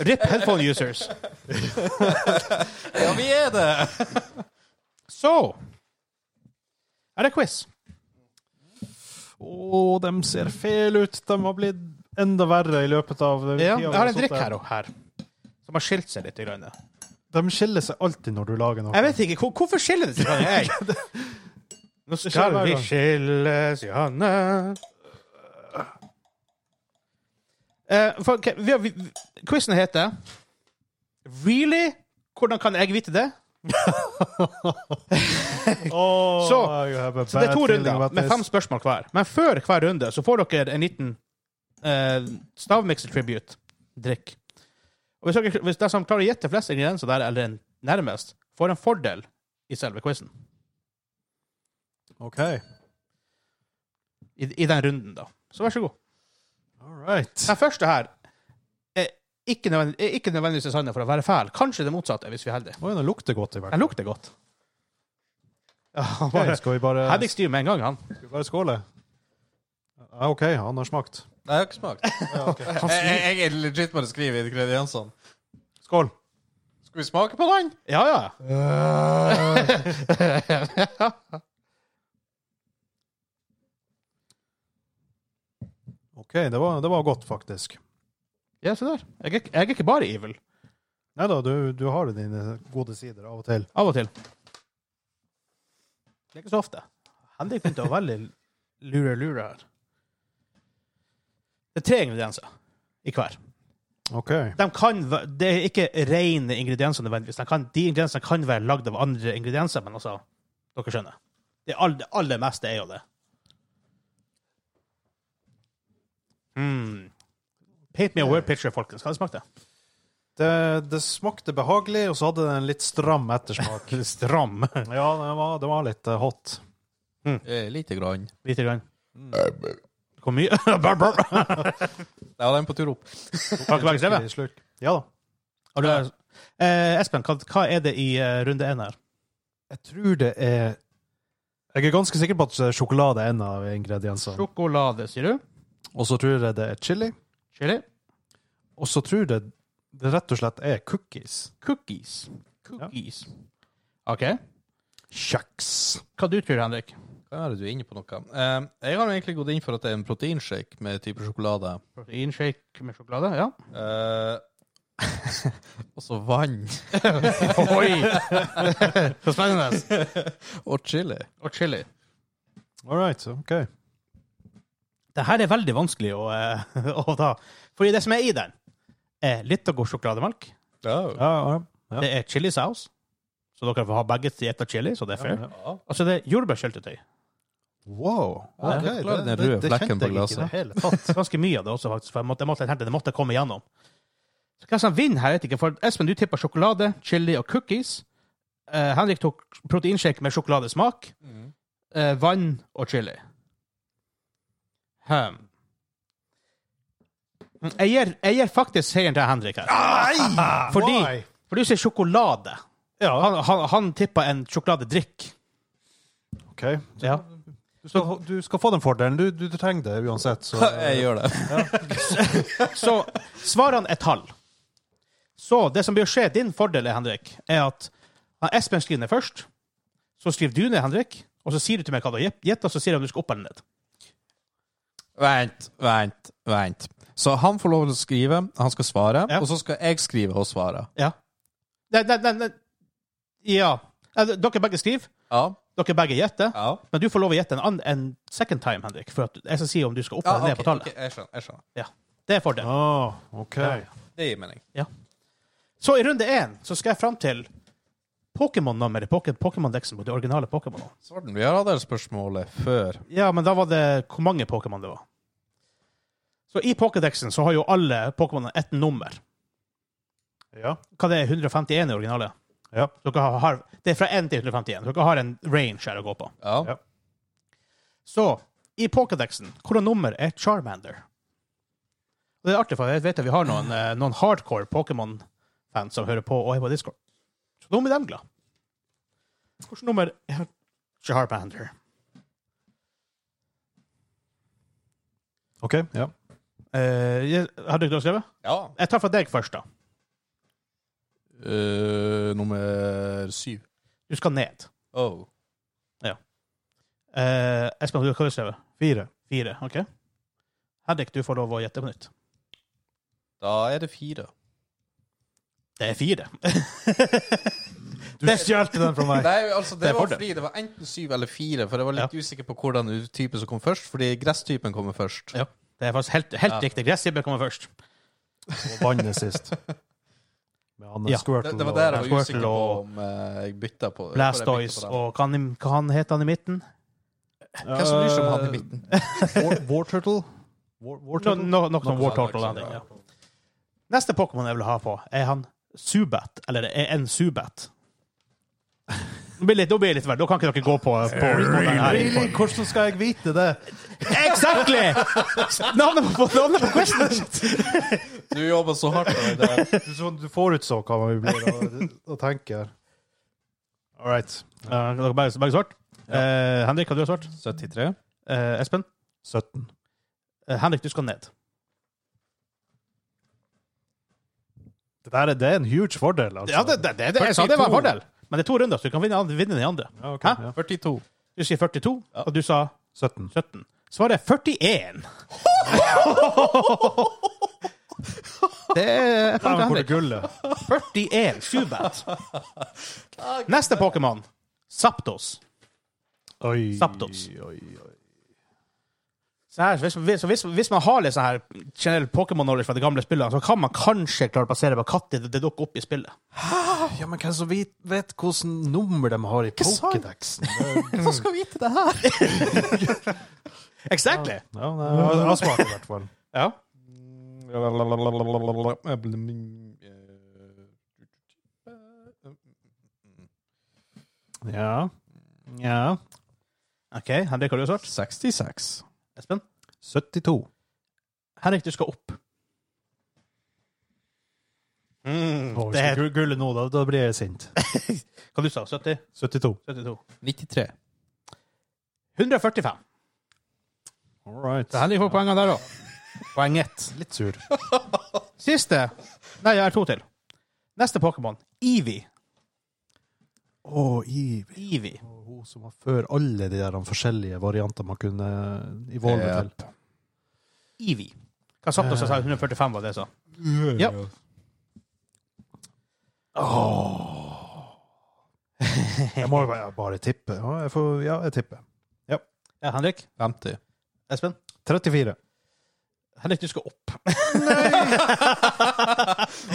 B: RIP headphone users.
C: Ja, vi er det!
B: Så er det quiz.
A: Å, de ser fæle ut! De har blitt enda verre i løpet av eh,
B: Ja, jeg har en drikk her, og her som har skilt seg litt. Grann.
A: De skiller seg alltid når du lager noe.
B: Jeg vet ikke, hvor- Hvorfor skiller det seg? Janne? Jeg. Nå skal vi skilles, Janne. Eh, for, ok, vi har, vi, quizen heter Really? Hvordan kan jeg vite det?
A: Oh,
B: Så-
A: I have a
B: Så
A: bad
B: det er to
A: feeling
B: runder
A: about
B: med
A: this.
B: fem spørsmål hver. Men før hver runde så får dere en liten uh, stavmikser-tribute-drikk. Og hvis, dere, hvis de som klarer å gjette flest ingredienser der, eller en nærmest, får en fordel i selve quizen.
A: OK.
B: I, I den runden, da. Så vær så god.
A: All right.
B: Den første her er ikke, nødvendig, er ikke nødvendigvis designet for å være fæl. Kanskje det motsatte, hvis vi er heldige.
A: Oi, den lukter godt, i hvert
B: Den
A: fall.
B: lukter godt. Ja, han
A: Ok,
B: bare
A: Skal vi bare,
B: Hadde ikke styr med en gang, han.
A: skal vi bare skåle? Ja, OK, han har smakt.
C: Nei, jeg har ikke smakt. Jeg, jeg, jeg er legit bare skriver ingrediensene.
A: Skål!
C: Skal vi smake på den?
B: Ja, ja.
A: OK, det var, det var godt, faktisk.
B: ja se der. Jeg, er ikke- jeg er ikke bare evil.
A: Nei da, du, du har jo dine gode sider av og til.
B: Av og til. Det er ikke så ofte. Henrik begynte å veldig lure-lure her. Det er tre ingredienser i hver.
A: OK.
B: de kan, væ- det er ikke rene ingredienser nødvendigvis. De, kan, de ingrediensene kan være lagd av andre ingredienser, men altså Dere skjønner. Det aller, det aller meste er jo det. Mm. Paint me a word picture, folkens. Hva smakte det?
A: Det, det smakte behagelig, og så hadde det en litt stram ettersmak.
B: Litt Stram.
A: ja, det var, det var litt eh, hot.
C: Eh, lite grann.
B: Lite grann. Hvor mye? Brr, brr.
C: Ja, den på tur opp.
B: Har dere begge skrevet?
A: Skikkelig slurk. Ja da.
B: Har du- Eh, Espen, hva, hva er det i eh, runde én her?
A: Jeg tror det er Jeg er ganske sikker på at sjokolade er en av ingrediensene.
B: Sjokolade, sier du?
A: Og så tror jeg det er chili.
B: Chili.
A: Og så tror jeg det rett og slett er cookies.
B: Cookies. Cookies. OK.
A: Kjeks.
B: Hva du tror Henrik?
C: Kan være du er inne på noe. Eh, jeg har egentlig gått inn for at det er en proteinshake med type sjokolade.
B: Proteinshake med sjokolade? Ja.
C: Eh, og så vann.
B: Oi! Så spennende.
C: Og chili.
B: Og chili.
A: All right, OK.
B: Det her er veldig vanskelig å, eh, å ta. Fordi det som er i den, er litt av god sjokolademelk.
C: Ja.
A: Ja, ja. Ja.
B: Det er chilisaus, så dere får ha begge til ett av chili, så det er fair.
A: Ja,
C: Ja.
B: Og så er det jordbærsyltetøy.
A: Wow.
C: Ja,
A: ok,
C: det forklarer den røde flekken på glasset.
A: i det hele tatt.
B: Ganske mye av det også, faktisk. For jeg måtte, jeg måtte, hente, det måtte komme igjennom. Så hva som vinner her, vet jeg ikke. For Espen, du tippa sjokolade, chili og cookies. Eh, Henrik tok proteinshake med sjokoladesmak.
C: Mm.
B: eh, vann og chili. Hm. Mm, Jeg gir, jeg gir faktisk seieren til Henrik her. Fordi,
A: Why?
B: for du sier sjokolade. Han, han, han tippa en sjokoladedrikk.
A: OK. Du skal, du skal få den fordelen. Du, du, du trenger det uansett. Så,
C: Jeg gjør det.
B: Så svarene er tall. Så det som bør skje, din fordel, er, Henrik, er at Espen skriver ned først. Så skriver du ned, Henrik, og så sier du til meg hva du har gitt, og så sier jeg om du skal opp eller ned.
C: Vent, vent, vent. Så han får lov til å skrive, han skal svare,
B: Ja.
C: og så skal jeg skrive og svare.
B: Ja. Nei, nei, nei, nei. Ja. Nei, Dere begge skriver.
C: Ja.
B: Dere begge gjetter.
C: Ja.
B: Men du får lov å gjette en, annen- en second time, Henrik, for at jeg skal si om du skal opp
C: Ja,
B: eller ned
C: ok,
B: på tallet.
C: ok, jeg skjønner. jeg skjønner.
B: Ja, Det er fordelen.
A: Ah, OK.
C: Det gir mening.
B: Så i runde én så skal jeg fram til Pokémon-nummeret, Poké- Pokémon-deksen på de originale Pokémonene.
C: Svarten, vi har hatt det spørsmålet før.
B: Ja, men da var det hvor mange Pokémon det var. Så i Pokédexen så har jo alle Pokémonene ett nummer.
A: Ja.
B: Hva det er 151 i originalet?
A: Ja.
B: Dere har, har, det er fra 1 til 151. Dere har en range her å gå på.
C: Ja.
A: Ja.
B: Så i Pokédexen, hvilket nummer er Charmander? Og det er artig, for jeg vet at vi har noen, eh, noen hardcore Pokémon-fans som hører på og er på Discord. Så nå blir de glad. Hvilket nummer er Charmander?
A: OK. Ja.
B: Eh, jeg- har dere skrevet?
C: ja.
B: Jeg tar fra deg først, da.
C: Eh, nummer syv.
B: Du skal ned.
C: Oh.
B: Eh, Espen, du- hva har du skrevet?
A: Fire.
B: Fire. OK. Henrik, du får lov å gjette på nytt.
C: Da er det fire.
B: Det er fire. det stjal
A: Den fra meg.
C: Nei, altså det,
B: Det er
C: var
B: fordel.
C: fordi det var enten syv eller fire, for jeg var litt usikker på hvordan type som kom først, fordi gresstypen kommer først.
B: Ja. Det er faktisk helt, helt
C: Ja.
B: riktig. Gressibbe kommer først.
A: Og vannet sist. Med Anne
B: Ja,
A: Squirtle.
C: Det, det var
A: og-
C: der jeg
B: Squirtle
C: var usikker på
B: og-
C: om eh, jeg bytta på hvor jeg bytta på
B: Blastoise
C: den.
B: og hva han- hva han heter han i midten?
C: Hvem som bryr seg om han i midten?
A: War, War Turtle? War, War
B: No,
A: Turtle?
B: no, noe som War
C: sånt,
B: Turtle.
C: noe sånt,
B: Landing,
C: ja.
B: ja. Neste Pokémon jeg vil ha på, er han Zubat, eller er en Zubat. Nå blir det litt, nå blir det litt verre. Da kan ikke dere gå på, på, på den her.
A: Really? Hvordan skal jeg vite det?
B: Exactly! Navnet på, navnet på questionen!
C: Du jobber så hardt med det.
A: Du, så- sånn du forutså hva vi blir å, å tenke her. All right.
B: Ja, dere begge, begge svart? Eh, Henrik, hva du har svart?
C: 73?
B: Eh, Espen?
A: 17.
B: Eh, Henrik, du skal ned.
A: Det, der, er- det er en huge fordel, altså.
B: Ja, det, det, det, jeg sa det var en fordel. Men det er to runder, så du kan vinne, vinne den andre.
A: Ja, ok,
B: Hæ?
A: ja.
C: 42.
B: Du sier 42, og du sa
A: 17.
B: 17. Svaret er 41. Det er
A: Der
B: fant
A: hvor det
B: Henrik.
A: gullet.
B: 41. Subert. Neste Pokémon. Zapdos.
A: Oi,
B: Zapdos.
A: Oi, oi.
B: Så, her, hvis, så hvis, hvis man har litt sånn her generell Pokémon-knowledge fra de gamle spillene, så kan man kanskje klare å plassere på katter det dukker opp i spillet.
A: Ja, men hvem som vet, vet hvordan nummer de har i
B: sa jeg?
A: Pokédexen? Det-
C: Hva skal vite det her?
B: Exactly!
A: Ja, nei, jeg jeg har smakt i hvert fall.
B: Ja. Eh,
A: Ja. Ja.
B: OK, Henrik, har du svart?
C: 66.
B: Espen?
A: 72.
B: Henrik, du skal opp.
A: Å,
B: det
A: hvis
B: er,
A: du guller nå, da, da blir jeg sint.
B: hva du sa 70?
A: 72.
B: 72?
C: 93.
B: 145.
A: All right.
B: Så Henrik får poengene der òg. Poeng ett.
A: Litt sur.
B: Siste. Nei, jeg har to til. Neste Pokémon. Eevee.
A: Å, Ivy.
B: Eevee.
A: Hun som var før alle de der forskjellige variantene man kunne evolve
C: Ja.
A: til.
B: Eevee. Hva satt det som sa 145, var det jeg sa? Ja.
A: altså. Jeg må jo bare, bare tippe. Ja, jeg, får, ja, jeg tipper.
B: Ja, Henrik?
C: 50.
B: Espen?
A: 34.
B: Henrik, du skal opp.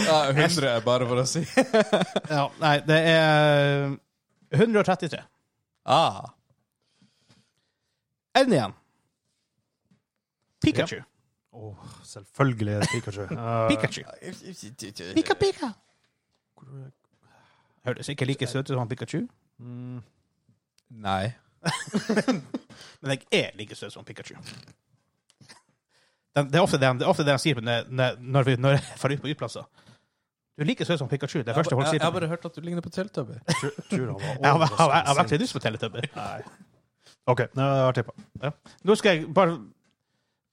C: Ja, 100 er bare for å si.
B: Ja, nei, det er 133.
C: Ah.
B: Enn igjen. Pikachu.
A: Å, selvfølgelig er det Pikachu. Eh,
B: Pikachu. Pika, pika. Høres ikke like søt ut som han Pikachu,
A: mm,
C: Nei.
B: men jeg er like søt som Pikachu. Den, det, er ofte det, det er ofte det han sier når, når- når, vi, når jeg får ut på utplasser. Du er like søt som Pikachu. Det er det første folk sier
C: Jeg
B: til
C: har
B: meg.
C: bare hørt at du ligner på Teletubby.
A: tror, tror han var
B: Jeg har- jeg har jeg har vært
A: overraskende
B: litt lyst på Teletubby.
A: Nei. OK, nå har jeg tippa.
B: Nå skal jeg bare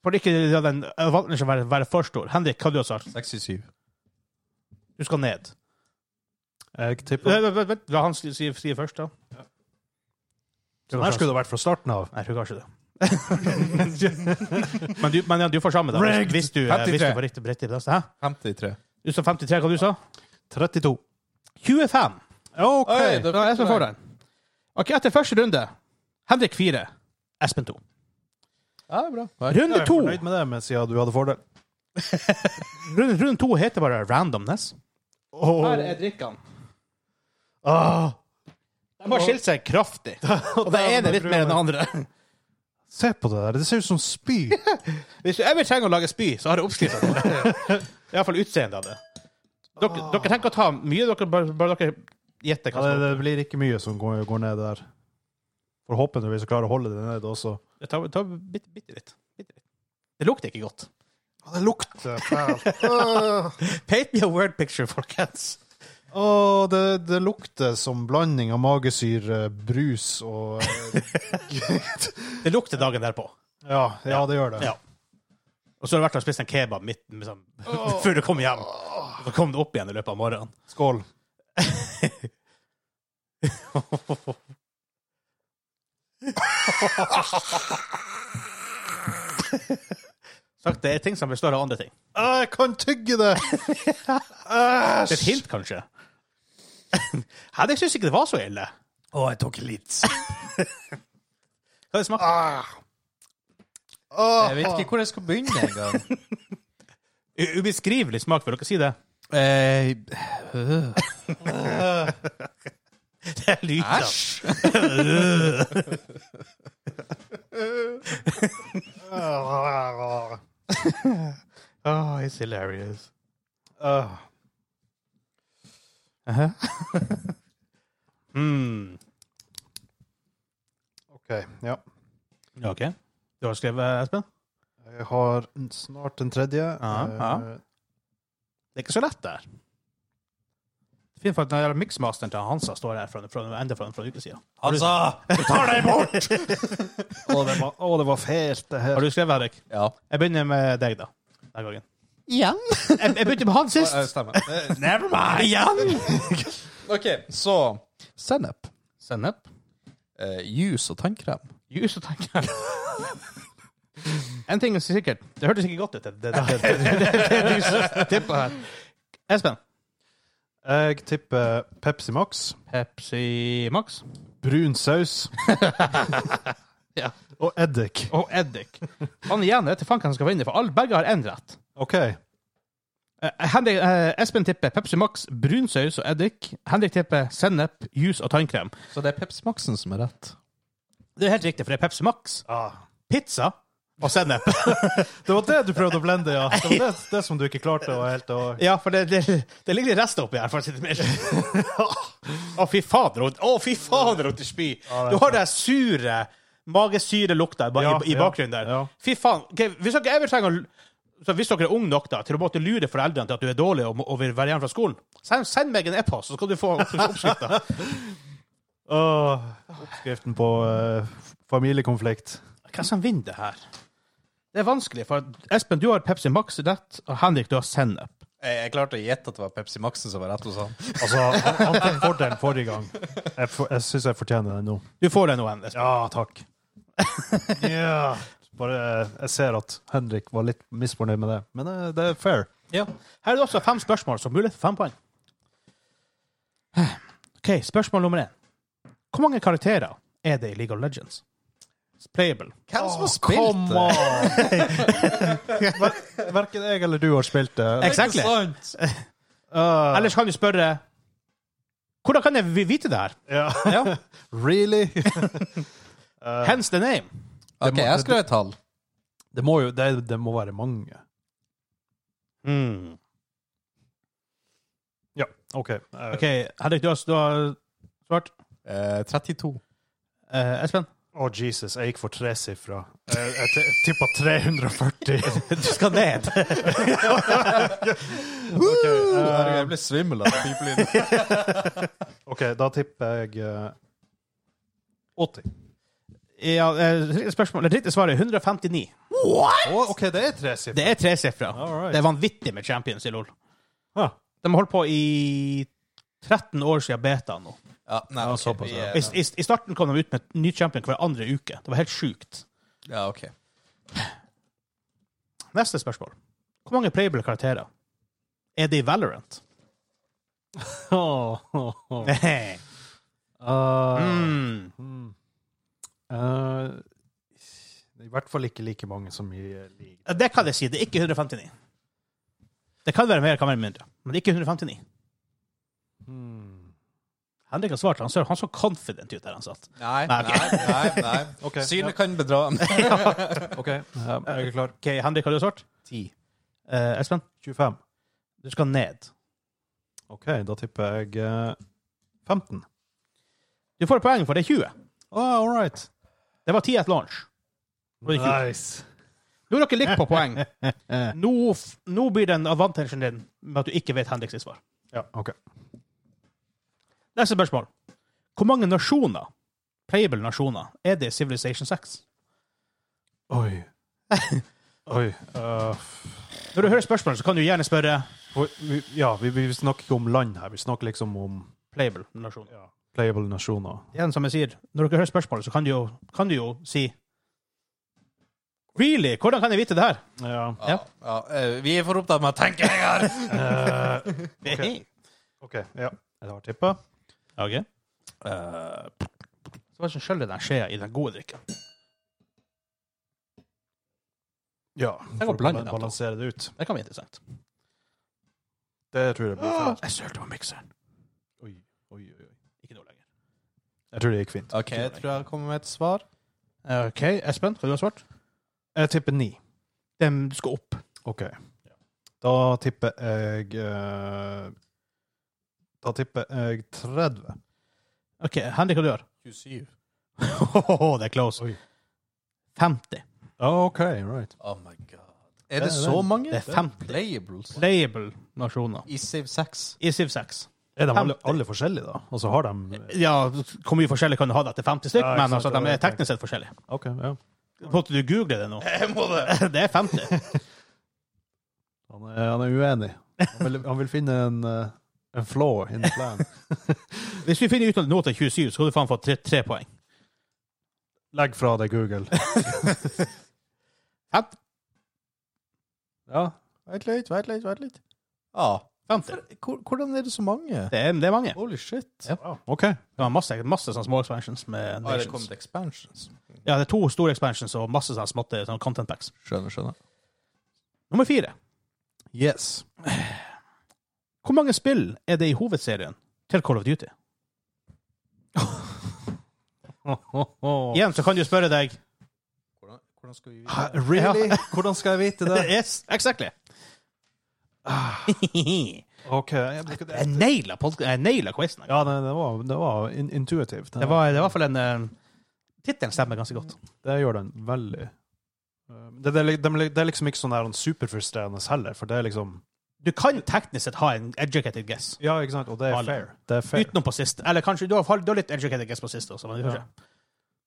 B: For ikke la den valgningen skal være, være for stor. Henrik, hva du har sagt?
C: 67.
B: Du skal ned.
A: Jeg tipper.
B: Vent, vent, vent, la han si, si, si først, da.
A: Den her skulle det vært fra starten av.
B: Nei, jeg tror kanskje det. men du, men ja, du får samme, da. Hvis, hvis, du, eh, hvis du
C: 53.
B: får riktig riktig plass. Hæ?
C: 53.
B: Du sa 53, hva du sa
A: 32.
B: 25.
A: OK!
C: Oi, det-
B: Da er Espen foran. Ok, Etter første runde Henrik 4, Espen 2.
C: Ja, det er bra. Nei.
B: Runde
A: Jeg er
B: to
A: fornøyd med det, men siden du hadde fordel.
B: runde, runde to heter bare randomness. Her er drikkene.
A: Ah,
B: De har skilt seg kraftig. Og den ene litt mer enn den andre.
A: se på det der, det ser ut som spy.
B: Hvis du ever trenger å lage spy, så har jeg oppskrifta på det. Iallfall utseendet av det. Dere, dere tenker å ta mye, dere bare, bare dere gjetter
A: Ja,
B: hva
A: det,
B: som
A: det blir ikke mye som går, går ned der. Forhåpentligvis klarer å holde det nede også.
B: Jeg tar, tar bitte, bitte litt. Bitte litt. Det lukter ikke godt.
A: Det lukter fælt.
B: Paint me a word picture, folkens.
A: Å, det, det lukter som blanding av magesyre, brus og eh,
B: Det lukter dagen derpå.
A: Ja, ja det gjør det.
B: Ja. Og så har du vært og spist en kebab midt liksom, før du kom hjem. Så kom du opp igjen i løpet av morgenen.
A: Skål.
B: Sagt, det er ting som består av andre ting.
A: Ah, Jeg kan tygge det!
B: Det er et hint, kanskje. Henrik syns ikke det var så ille.
C: Å, jeg tok litt.
B: Hva det smakte
C: Jeg vet ikke hvor jeg skal begynne engang.
B: U- Ubeskrivelig smak, vil dere si det?
C: Eh,
B: Det er lyder.
C: Æsj!
A: Ah,
B: Oh, it's hilarious.
A: ah.
B: Mm.
A: OK. Ja.
B: OK. Du har skrevet, Espen?
A: Jeg har en- snart en tredje.
B: Ja,
A: Eh,
B: ja. Det er ikke så lett der. Det er fint for at den der miksmasteren til Hansa står her fra, fra, enda fra, fra en uke siden.
C: Altså, du tar deg bort!
A: Å, det var, å, det var fælt, det
B: Har
A: her.
B: du skrevet, Henrik?
C: Ja.
B: Jeg begynner med deg, da. Denne gangen.
C: Igjen?
B: Jeg, jeg begynte med han
C: Ja,
B: sist.
C: stemmer. Eh,
B: Never mind. Igjen!
C: OK, så Sennep.
B: Sennep.
C: Eh, juice og tannkrem.
B: Jus og tanker. En ting er sikkert. Det hørtes ikke godt ut. Det, det, det, det, det, det, du s- tipper her. Espen.
A: Eh, Jeg tipper Pepsi Max,
B: Pepsi Max.
A: brun saus
B: Ja.
A: og eddik.
B: Og eddik. Han igjen vet faen hva han skal vinne, for alle, begge har én rett.
A: OK.
B: Eh, Henrik, eh, Espen tipper Pepsi Max, brunsaus og eddik. Henrik tipper sennep, juice og tannkrem.
C: Så det er Peps Maxen som er rett.
B: Det er helt riktig, for det er Pepsi Max,
A: Ah.
B: pizza og sennep.
A: Det var det du prøvde å blende, ja. Det var det, det som du ikke klarte å helt å
B: Ja, for det, det, det ligger litt rester oppi her. for å si det mer. Å, fy fader, og- å, fy fader, og til spy!
A: Ja, det er
B: Du har den sure magesyrelukta i,
A: Ja,
B: i, i
A: ja,
B: bakgrunnen der.
A: ja.
B: Fy faen. ok, hvis dere ever trenger å l- så hvis dere er unge nok da, til å måtte lure foreldrene til at du er dårlig og, må- og vil være hjemme fra skolen, send, send meg en e-post, så skal du få oppskrifta.
A: Åh, Oppskriften på eh, familiekonflikt.
B: Hvem som vinner det her? Det er vanskelig, for Espen, du har Pepsi Max i rett, og Henrik, du har sennep.
C: Eh, Jeg, jeg klarte å gjette at det var Pepsi Maxen som var rett hos han.
A: Altså, han han fikk fordelen forrige gang. Jeg, for, jeg syns jeg fortjener den nå.
B: Du får den nå, Espen.
A: Ja, takk. Ja. Bare, eh, jeg ser at Henrik var litt misfornøyd med det, men eh, det er fair.
B: Ja. Her er det også fem spørsmål som mulighet for fem poeng. OK, spørsmål nummer én. Hvor mange karakterer er det i League of Legends? Playable.
C: Hvem som har
A: Come
C: spilt det?
A: on! Ver- Verken eh. jeg eller du har spilt det.
B: Exactly.
C: Interessant.
A: Ah,
B: Ellers kan du spørre Hvordan kan jeg vi- vite det her?
A: ja.
C: Ja.
A: Really? Eh.
B: Hence the name.
C: OK, jeg skrev et tall.
A: Det må jo det, det må være mange. Mm. Ja, OK. Eh,
B: OK, Henrik, du har, du har svart.
C: Eh, 32.
B: Eh, Espen?
A: Å, Jesus, jeg gikk for tresifra. Jeg, jeg tippa 340.
B: Du skal ned.
A: Ok,
C: Herregud,
A: eh,
C: Jeg ble svimmel av pipelyden.
A: OK, da tipper jeg eh, 80.
B: ja, eh, riktig spørsmål. Det riktige svaret er 159.
A: Å, OK, det er tresifra.
B: Det er tresifra.
A: All right.
B: Det er vanvittig med champions i LOL.
A: Ja.
B: De har holdt på i 13 år siden beta nå.
C: Ja, nei,
A: Ja,
C: ok,
A: såpass,
C: vi
A: ja.
C: er-
B: I, i, I starten kom de ut med en ny champion hver andre uke. Det var helt sjukt.
C: Ja, OK.
B: Neste spørsmål. Hvor mange playable karakterer er det i Valorant?
A: Å, å, å.
B: mm.
A: Eh, mm. Eh, I hvert fall ikke like mange som i eh, league.
B: Det kan jeg si. Det er ikke 159. Det kan være mer, det kan være mindre. Men det er ikke 159.
A: Hmm.
B: Henrik har svart. Han så, han så confident ut der han satt.
C: Nei,
B: Nei,
C: nei,
B: ok.
C: nei. nei.
A: Ok,
C: Synet
A: ja.
C: kan bedra.
A: OK, ja, jeg er klar.
B: Eh, Ok, Henrik, har du svart?
C: 10.
B: Eh, Espen,
A: 25.
B: du skal ned.
A: OK, da tipper jeg eh, 15.
B: Du får poeng for det er 20.
A: Å, all right.
B: Det var 10 at launch. Og det er 20.
A: Nice.
B: Nå er dere likt på poeng. Nå, f- nå blir den advantagen din med at du ikke vet Henrik sitt svar.
A: Ja, OK.
B: Neste spørsmål. Hvor mange nasjoner, playable nasjoner, er det i Civilization 6?
A: Oi. Oi. eh,
B: Når du hører spørsmålet, så kan du gjerne spørre
A: for- vi, ja, vi, vi snakker ikke om land her. Vi snakker liksom om
B: playable nasjoner.
A: ja, playable nasjoner.
B: Igjen, som jeg sier, når dere hører spørsmålet, så kan du jo, kan du jo si Really? Hvordan kan jeg vite det her?
A: Ja.
C: Ja. Ja, eh, vi er for opptatt med å tenke lenger!
A: eh, OK. Ja. Jeg har tippa.
B: Ok. Eh, så hva er det som skjøller den skjea i den gode drikken?
A: Ja.
B: går
A: For å
B: blandet,
A: bal-
B: da.
A: balansere det ut.
B: Det kan bli interessant.
A: Det tror jeg blir fint.
B: Jeg sølte på mikseren.
A: Oi, oi, oi. oi.
B: Ikke nå lenger.
A: Jeg tror det gikk fint.
C: OK, jeg tror jeg kommer med et svar.
B: OK, Espen, hva har du svart?
A: Jeg tipper ni.
B: Den skal opp.
A: OK. Da tipper jeg eh, Da tipper jeg 30.
B: OK, Henrik, hva du gjør
C: 27.
B: det er close.
A: Oi.
B: 50.
A: OK, right.
C: Oh my god.
A: Det
C: Er
A: er
C: det så
A: det.
C: mange?
B: Det er 50
C: Playables
B: playable nasjoner
C: i Save 6.
B: i Civ 6.
A: Er de alle,
B: Femti.
A: alle forskjellige, da? Og så har de
B: Ja, hvor mye forskjellig kan du ha det etter 50 stykk?
A: Ja, ikke
B: men
A: sant,
B: altså,
A: det var
B: de er
A: det jeg
B: teknisk sett forskjellige.
A: OK, ja.
B: Måtte du google det nå?
C: Jeg må det!
B: Det er 50.
A: Han er, han er uenig. Han vil, han vil finne en, eh, en flaw in the plan.
B: Hvis vi finner ut nå til 27, så skal du faen få tre, tre poeng.
A: Legg fra deg Google.
B: Fem-
A: Ja.
C: Vent litt, vent litt, vent litt. Ja.
B: 50.
C: Hvor- Hvordan er det så mange?
B: Det er, det er mange.
C: Holy shit.
A: Wow. OK.
B: Det var masse, masse sånne små expansions med
C: Ah, er det kommet
B: nations.
C: expansions?
B: Ja, det er to store expansions og masse sånne småtte sånne content packs.
C: Skjønner, skjønner.
B: Nummer fire.
A: Yes.
B: Hvor mange spill er det i hovedserien til Call of Duty? Igjen så kan du spørre deg
C: Hvordan, hvordan skal vi
A: Hæ, Really? Hvordan skal jeg vite det?
B: Yes, exactly.
A: Ah.
B: Jeg
A: OK. Jeg blir ikke det.
B: naila podka- jeg naila quizen.
A: Ja, det, det var, det var in intuitivt.
B: Det var, det var i hvert fall en uh, Tittelen stemmer ganske godt.
A: Det gjør den veldig. Eh, Det, det, er li- dem li- det er liksom ikke sånn her superfrustrerende heller, for det er liksom
B: Du kan teknisk sett ha en educated guess
A: Ja, ikke sant? Og det er
B: Alle.
A: fair. Det er fair.
B: utenom på siste. Eller kanskje du har, du har litt educated guess på siste også. Men det
A: Ja.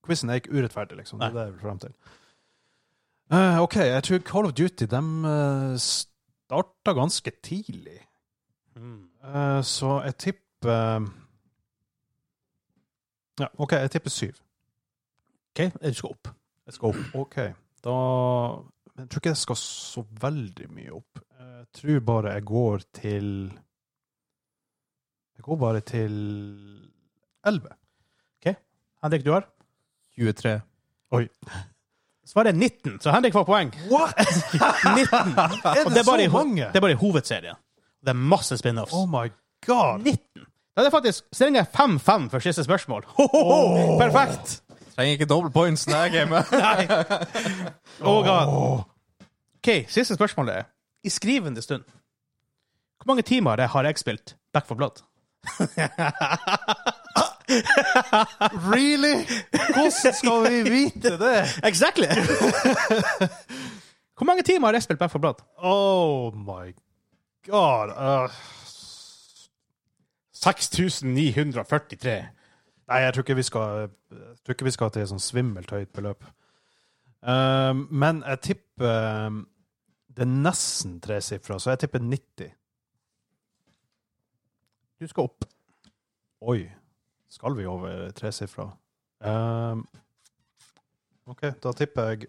A: Quizen er ikke urettferdig, liksom. Det
B: Nei.
A: er det jeg vil frem til. Eh, OK, jeg tror Call of Duty de eh, starta ganske tidlig.
B: Mm.
A: Eh, så jeg tipper eh, Ja, OK, jeg tipper syv.
B: OK, du skal opp.
A: Jeg skal opp. OK. Da Men jeg tror ikke jeg skal så veldig mye opp. Jeg tror bare jeg går til Jeg går bare til elleve.
B: Henrik, du har?
C: 23.
B: Svaret er 19, så Henrik får poeng.
A: What?!
B: 19.
A: Er
B: Og
A: det,
B: det er bare i
A: så
B: ho-
A: mange?
B: Det er bare i hovedserien. Det er masse spin-offs.
A: Oh my god!
B: 19. Da er det faktisk stillinga 5-5 for siste spørsmål. Ho, ho, ho.
A: Oh.
B: Perfekt!
C: Trenger ikke double points når jeg gamer.
B: Oh, God.
A: Åh.
B: OK, siste spørsmål er I skrivende stund, hvor mange timer det har jeg spilt Back for Blood?
A: Really? Hvordan skal vi vite det?
B: Exactly! hvor mange timer har jeg spilt Back for Blood?
A: Oh my god. Uh,
B: 6943.
A: nei, jeg tror ikke vi skal, jeg tror ikke vi skal til et sånn svimmelt høyt beløp. Um, men jeg tipper um, Det er nesten tresifra, så jeg tipper 90.
B: Du skal opp.
A: Oi. Skal vi over tresifra? Um, OK, da tipper jeg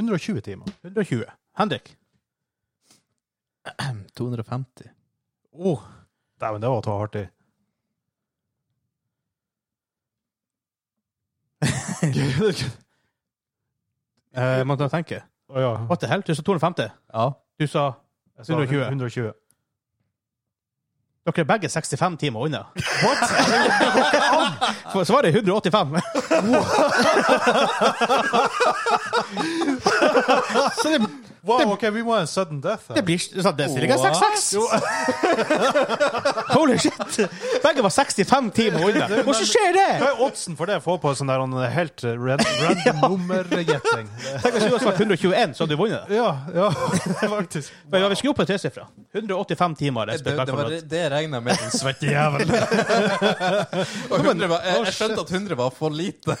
A: 120 timer.
B: 120. Henrik?
C: 250.
B: Oh.
A: Dæven, det var å ta hardt i.
B: Eh, må ta og tenke.
A: Å ja.
B: What the hell? Du sa 250.
C: Ja.
B: Du sa
A: Jeg sa
B: 120.
A: 120.
B: Dere er begge 65 timer unna. For svaret er 185. Så det,
A: Wow, OK, vi må ha en sudden death
B: det
A: her.
B: blir så Det stiller ikke 66! Holy shit! Begge var 65 timer unna. Hvordan skjer det?
A: Hva er oddsen for det jeg får på sånn der en helt red, random nummergjetting?
B: Tenk hvis du hadde svart 121, så hadde du vunnet.
A: Ja, ja, faktisk.
B: Men vi skulle opp på tresifra. 185 timer. har jeg
C: Det,
B: spilt
C: det,
B: Back
C: var,
B: 4 Blood.
C: det regna jeg med, din svette jævel. Og 100 var, jeg, jeg skjønte at 100 var for lite.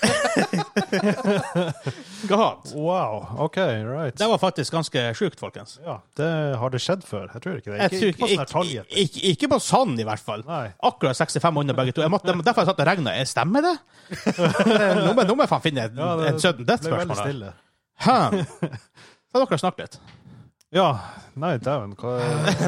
B: God.
A: Wow, OK, right.
B: Det var faktisk ganske sjukt, folkens.
A: Ja, det har det skjedd før. Jeg tror ikke det.
B: Jeg
A: Ikke, ikke på
B: tror
A: sånn her
B: ikke,
A: tallgjetting.
B: ikke, ikke på sånn, i hvert fall.
A: Nei.
B: Akkurat 65 under begge to. Jeg måtte, derfor jeg satt og regna. Stemmer det? Nå må, nå må jeg faen finne en,
A: Ja, det-
B: en sudden
A: Det ble veldig stille.
B: death-spørsmål. her. Hæ? Så har dere snakket litt.
A: Ja. Nei, dæven. hva-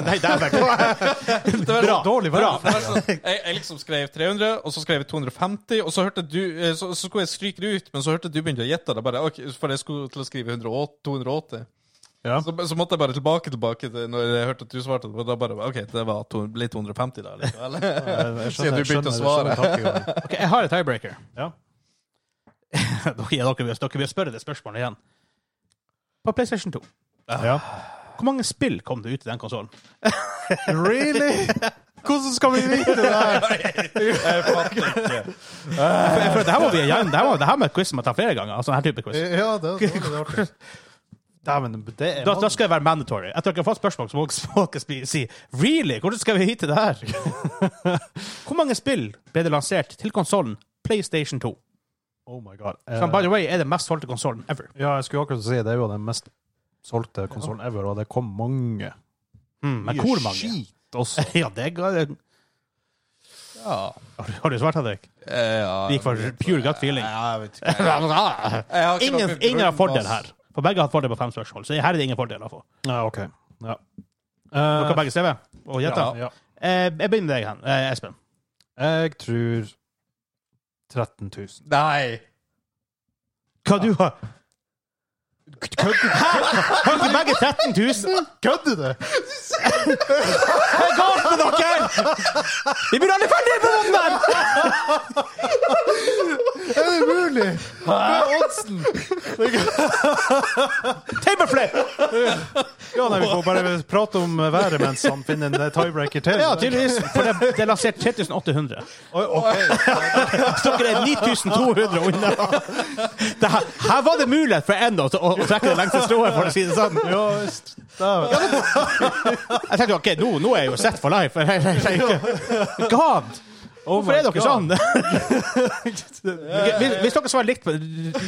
B: Nei, dæven.
C: Det var
B: Bra.
A: Dårlig vær.
C: Det var sånn- Jeg, jeg liksom skrev 300, og så skrev jeg 250, og så hørte du eh, Så, så skulle jeg stryke det ut, men så hørte du begynte å gjette. Det bare, ok, for jeg skulle til å skrive 108, 280.
A: Ja.
C: Så, så måtte jeg bare tilbake tilbake til når jeg hørte at du svarte. Og da bare OK, det var to, ble 250 da, liksom, likevel.
A: Jeg
C: Siden du begynte å svare.
A: svare.
B: Ok, jeg har en tiebreaker.
A: Ja.
B: Dere, dere, vil- dere vil spørre det spørsmålet igjen. På PlayStation 2,
A: ja.
B: hvor mange spill kom det ut i den konsollen?
A: Really? Hvordan skal vi vite det her?
C: Jeg fatter ikke.
B: For det her må vi igjen. Det her, må, det her med et quiz må ta flere ganger. Altså, denne type quiz.
A: Ja, det det var litt artig. Dæven, det er
B: Da, da skal det være mandatory. Etter dere har fått spørsmål, så må må dere spi- si Really? Hvordan skal vi vite det her? Hvor mange spill ble det lansert til konsollen PlayStation 2?
A: Oh my god. Eh,
B: Som by the way er den mest solgte konsollen ever.
A: Ja, jeg skulle akkurat si det er jo den mest solgte konsollen ever, og det kom mange.
B: men hvor mange?
A: Mm, Skit også.
B: Ja, det ga
C: Ja.
B: Har du- Har du svart, Henrik?
C: Eh, ja.
B: Det gikk for pure gut feeling.
C: Ja, jeg vet ikke. Jeg har ikke
B: Ingen,
C: noe
B: ingen har
C: grunn,
B: fordel
C: ass.
B: her. For begge har hatt fordel på fem spørsmål, så her er det ingen fordel å få.
A: Ja, OK. Ja.
B: Dere
A: Eh,
B: har begge CV og gjette.
A: ja.
B: Eh, Jeg begynner med deg, Hen- eh, Espen.
A: Jeg tror 13 000.
C: Nei.
B: Hva du har Hæ? Har ikke begge 13 000?
A: Kødder du?
B: Hva er galt med dere? Vi blir aldri ferdig på den der!
A: Er det mulig? Hva er oddsen?
B: Tableflip!
A: Ja, nei, vi får bare prate om været mens han finner en eh, tiebreaker til.
B: Ja, tydeligvis. For det, det er lansert 3800.
A: Oi, ok.
B: Så dere er 9200 unna. Det her, her var det mulighet for en å, å, å trekke det lengste strået, for å si det sånn.
A: Ja, visst. Da-
B: Jeg tenkte ok, nå, nå er jeg jo set for life. God! Hvorfor er dere sånn?
A: sånn?
B: Hvis, hvis dere svarer likt på,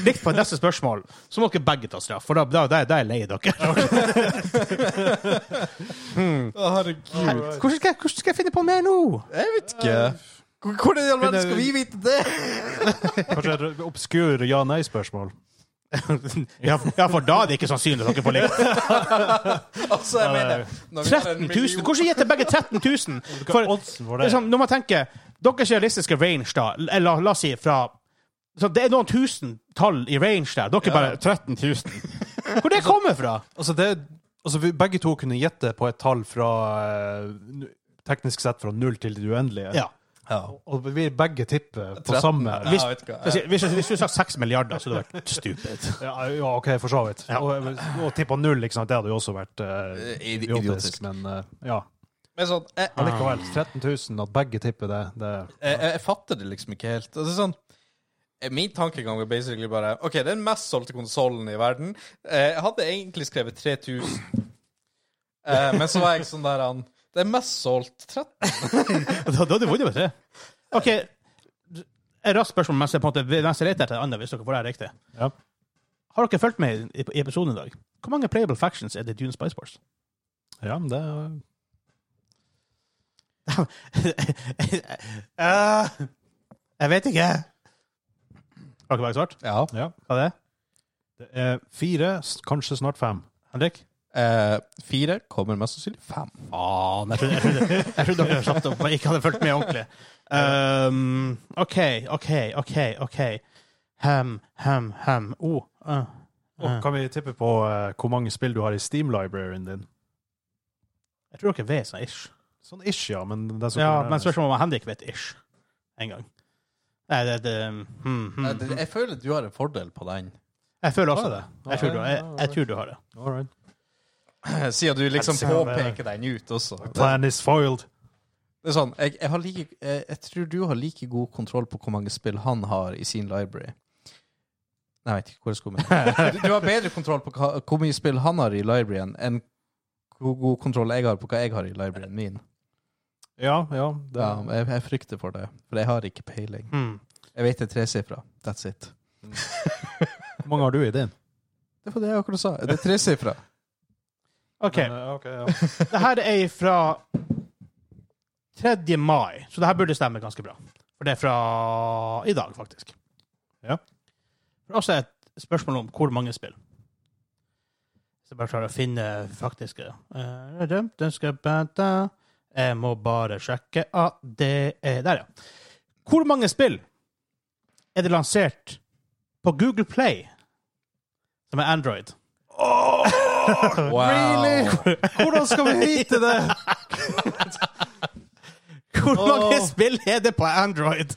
B: likt på neste spørsmål, så må dere begge ta straff, for da, da, da, da er jeg lei dere.
C: Herregud.
B: Hvordan skal, jeg- hvordan skal jeg finne på mer nå?
C: Jeg vet ikke. Hvordan i all verden skal vi vite det?
A: Kanskje et obskur ja-nei-spørsmål?
B: Ja, for- ja, for da er det ikke sannsynlig at dere får likt.
C: Altså, jeg mener når vi har
B: 13 000?
C: en million-
B: Hvordan gjetter begge 13 000? For,
A: Oddsen for det.
B: liksom, når man tenker Deres realistiske range, da, eller la oss si fra så Det er noen tusen tall i range der. Dere bare 13 000. Hvor det kommer fra?
A: Altså, det, altså vi begge to kunne gjette på et tall fra eh, nu- Teknisk sett fra null til det uendelige.
B: Ja.
C: Ja.
A: Og vi begge tipper på
C: 13.
A: samme.
C: Ja, jeg vet ikke.
B: Hvis, hvis, hvis du sa 6 milliarder, så hadde det vært stupid.
A: Ja, ja, OK, for så vidt. Og, eh, og tippa null, ikke sant? det hadde jo også vært eh,
C: Eh, idi-
A: idiotisk.
C: idiotisk.
A: Men eh, ja.
C: Men sånn, jeg,
A: Allikevel,
B: Ah.
A: 13 000, at begge tipper det, det
C: jeg, jeg fatter det liksom ikke helt. Altså, sånn, eh, min tankegang er basically bare OK, den mest solgte konsollen i verden. Eh, Jeg hadde egentlig skrevet 3000, Eh, men så var jeg sånn der han Den mest solgt 13
B: Da da hadde du vunnet, vet du. OK, et raskt spørsmål mens jeg på en måte mens jeg leter etter en annen, hvis dere får det her riktig.
A: Ja.
B: Har dere fulgt med i i episoden i dag? Hvor mange playable factions er det i Dune Spice Wars?
A: Ja, men det
B: Eh, jeg vet ikke. Har dere bare svart?
C: Ja.
A: Ja.
B: Hva det er?
A: Det er fire, s- kanskje snart fem.
B: Henrik?
C: Eh, fire kommer mest sannsynlig fem.
A: Ah,
B: Faen, jeg trodde, jeg trodde, jeg trodde dere slapp opp og ikke hadde fulgt med ordentlig. Um, OK, OK, OK. ok. Hem, hem, hem. Oh, uh.
A: Og
B: Ja.
A: kan vi tippe på eh, hvor mange spill du har i Steam-libraryen din?
B: Jeg tror dere vet sånn ish.
A: Sånn ish, ja, men den som
B: Ja,
A: kommer
B: men
A: nærmest.
B: spørsmålet om Henrik vet ish. En gang. Nei, det, det hmm,
C: Eh,
B: hmm.
C: det- Jeg føler du har en fordel på den.
B: Jeg føler
A: Har
B: også
A: jeg
B: det.
A: det?
B: Jeg tror du, jeg, jeg tror du har det.
A: All right.
C: Siden du liksom
A: Jeg ser det.
C: påpeker den ut også. Det,
A: Plan is foiled.
C: det er sånn, jeg, jeg, har like, jeg, jeg tror du har like god kontroll på hvor mange spill han har i sin library. Nei, jeg vet ikke hvor jeg skulle med. Du, du har bedre kontroll på hva, hvor mye spill han har i libraryen, enn hvor god kontroll jeg har på hva jeg har i libraryen min.
A: Ja, ja. Det,
C: Ja, jeg, jeg frykter for det, for jeg har ikke peiling.
B: Hmm.
C: Jeg vet det er tresifra. That's it.
A: Hvor mange har du i din?
C: Det var det jeg akkurat sa. Det er tresifra.
B: OK.
A: Men, eh, ok, ja.
B: Det her er fra 3. mai, så det her burde stemme ganske bra. For det er fra i dag, faktisk.
A: Ja.
B: Det er også et spørsmål om hvor mange spill. Så jeg bare klarer å finne faktiske Eh, dumt, den skal bæta. Jeg må bare sjekke at det er Der, ja. Hvor mange spill er det lansert på Google Play, som er Android?
C: Wow.
A: Hvordan skal vi vite det?!
B: Hvor mange
A: Åh.
B: spill er det på Android?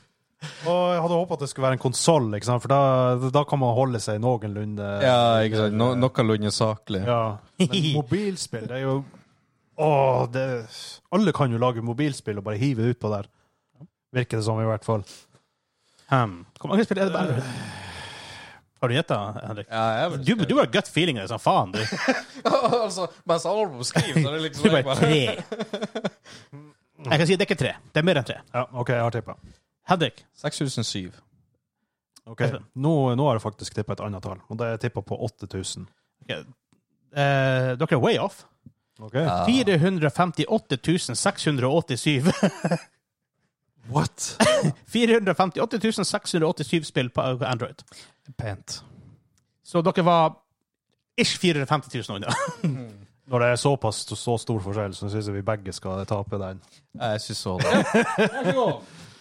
A: Og jeg hadde håpet at det skulle være en konsoll, ikke sant, for da, da kan man holde seg noenlunde
C: Ja, ikke sant. No, Noenlunde saklig.
A: Ja, men mobilspill, det er jo Åh, det Alle kan jo lage mobilspill og bare hive det utpå der. Virker det som, i hvert fall.
B: Hmm. Hvor mange spill er det på Android? Har du gjetta, Henrik?
C: Ja, jeg vil-
B: Du, du har gut feeling i det, sånn faen, du.
C: altså, mens Alvo skriver, så er det liksom
B: Du er bare tre. Jeg kan si det er ikke tre. Det er mer enn tre.
A: Ja, OK, jeg har tippa.
B: Henrik,
C: 6007.
A: Ok, Altså, Nå, nå har jeg faktisk tippa et annet tall, og det er jeg tippa på 8000.
B: eh, dere er way off.
A: Ok?
B: 458 687.
A: What?
B: 458 687 spill på Android.
C: Pent.
B: Så dere var ish 450 000 unna.
A: Når det er såpass så stor forskjell, så syns jeg vi begge skal tape den.
C: Jeg syns så det.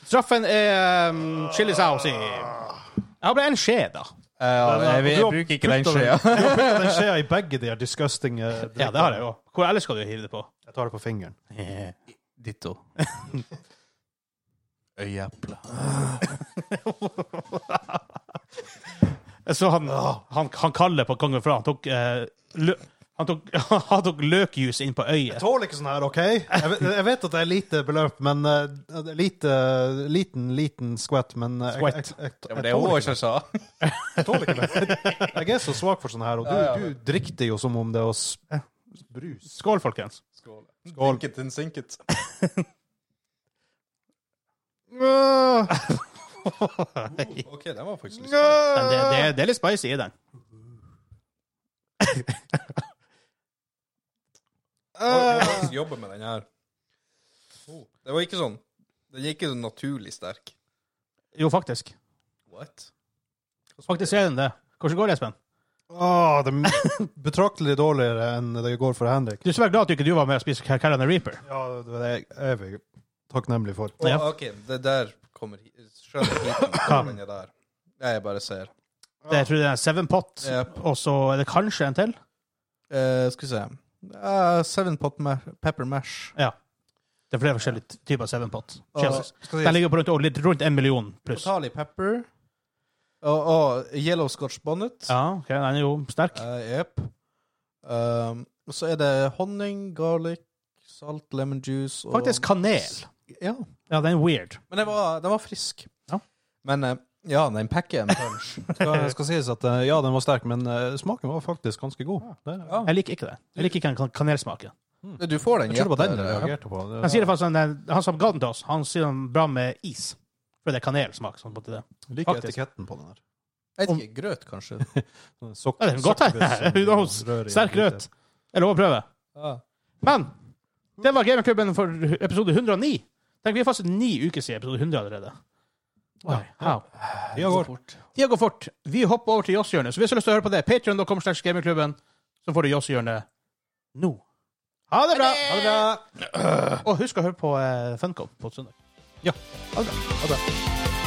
B: Straffen er um, chili sauce i Ja, det ble en skje, da.
C: Eh, jeg, jeg,
A: eh, Du har
C: bruker ikke den
A: puttet
C: skjea.
A: den- du har puttet den skjea i begge de her disgusting eh,
B: Ja, det har jeg jo. Hvor ellers skal du hive det på?
A: Jeg tar det på fingeren.
C: Ditto. Øyeeple.
B: Så han, han, han kaller på kongen fra. Han tok, eh, lø, han tok, han tok løkjus inn på øyet.
A: tåler ikke sånn her, OK? Jeg, vet- jeg vet at det er lite beløp, men eh, det er lite, liten, liten skvett, men eh, jeg,
B: Skvett.
A: jeg, jeg, jeg,
C: Det er
A: tåler
C: hun
A: ikke,
C: ikke sa.
A: jeg tåler ikke det. Jeg er så svak for sånn her, og
C: Ja, ja.
A: du, du drikker det jo som om det var s- brus.
B: Skål, folkens.
C: Skål. Sinket and sinket.
B: Men
C: OK, den var faktisk litt
B: det, det, det er litt spicy i den.
C: Jeg må faktisk jobbe med den her. Det var ikke sånn. Den er ikke sånn naturlig sterk.
B: Jo, faktisk.
C: What?
B: Faktisk er den det. Hvordan går det,
A: Åh,
B: Espen?
A: Ah, det er betraktelig dårligere enn det går for Henrik.
B: Du er svært glad at du ikke du var med og spiste Car- Carolina Reaper.
A: Ja, det er jeg evig takknemlig for.
C: Å,
B: Ja.
C: OK, det der kommer hit. Skjønner ikke hvordan den er der. Nei, jeg bare ser.
B: Det, jeg tror det er Seven Pot,
C: Yep.
B: og så er det kanskje en til.
C: Eh, skal vi se. Eh, seven pot ma pepper mash.
B: Ja. Det er flere forskjellige typer Seven Pot.
C: Og-
B: Jesus.
C: skal vi
B: Den
C: si
B: ligger på rundt, litt rundt en million pluss.
C: Potali pepper. Og, og yellow scotch bonnet.
B: Ja, ok, den er jo sterk.
C: Eh, Jepp. Um, og så er det honning, garlic, salt, lemon juice og
B: Faktisk kanel.
C: Ja.
B: Ja, den er weird.
C: Men den var, den var frisk.
B: Ja.
C: Men eh, ja, den pakker en punch.
A: Skal, skal sies at eh, ja, den var sterk, men eh, smaken var faktisk ganske god. Det,
C: Ja.
B: Jeg liker ikke det. Jeg liker ikke den kan- kanelsmaken.
C: Du får den
A: Jeg tror det var den
C: etter,
A: jeg
C: eh,
A: reagerte på.
B: Han sier det faktisk, han, han som ga den til oss, han sier den er bra med is. For det er kanelsmak. Sånn på det.
A: Jeg liker
B: faktisk.
A: etiketten på den her.
C: Jeg vet ikke, grøt, kanskje?
A: Sånn Sok
B: Ja, det er godt her.
A: sokkebøss som
B: Who knows?
A: rører i en
B: Sterk
A: lite-
B: rødt. Jeg lover å prøve. Men det var Gamingklubben for episode 109. Tenk, vi er faktisk ni uker siden episode 100 allerede. Oi, how?
A: Ja, går.
B: Tida går fort. Vi hopper over til Jåsshjørnet. Så hvis du har lyst til å høre på det, patreon.com slash gamingklubben, så får du Jåsshjørnet nå. Ha det bra! Ha det bra. Og husk å høre på eh, Funcom på søndag.
A: Ja.
B: Ha det bra. Ha det bra.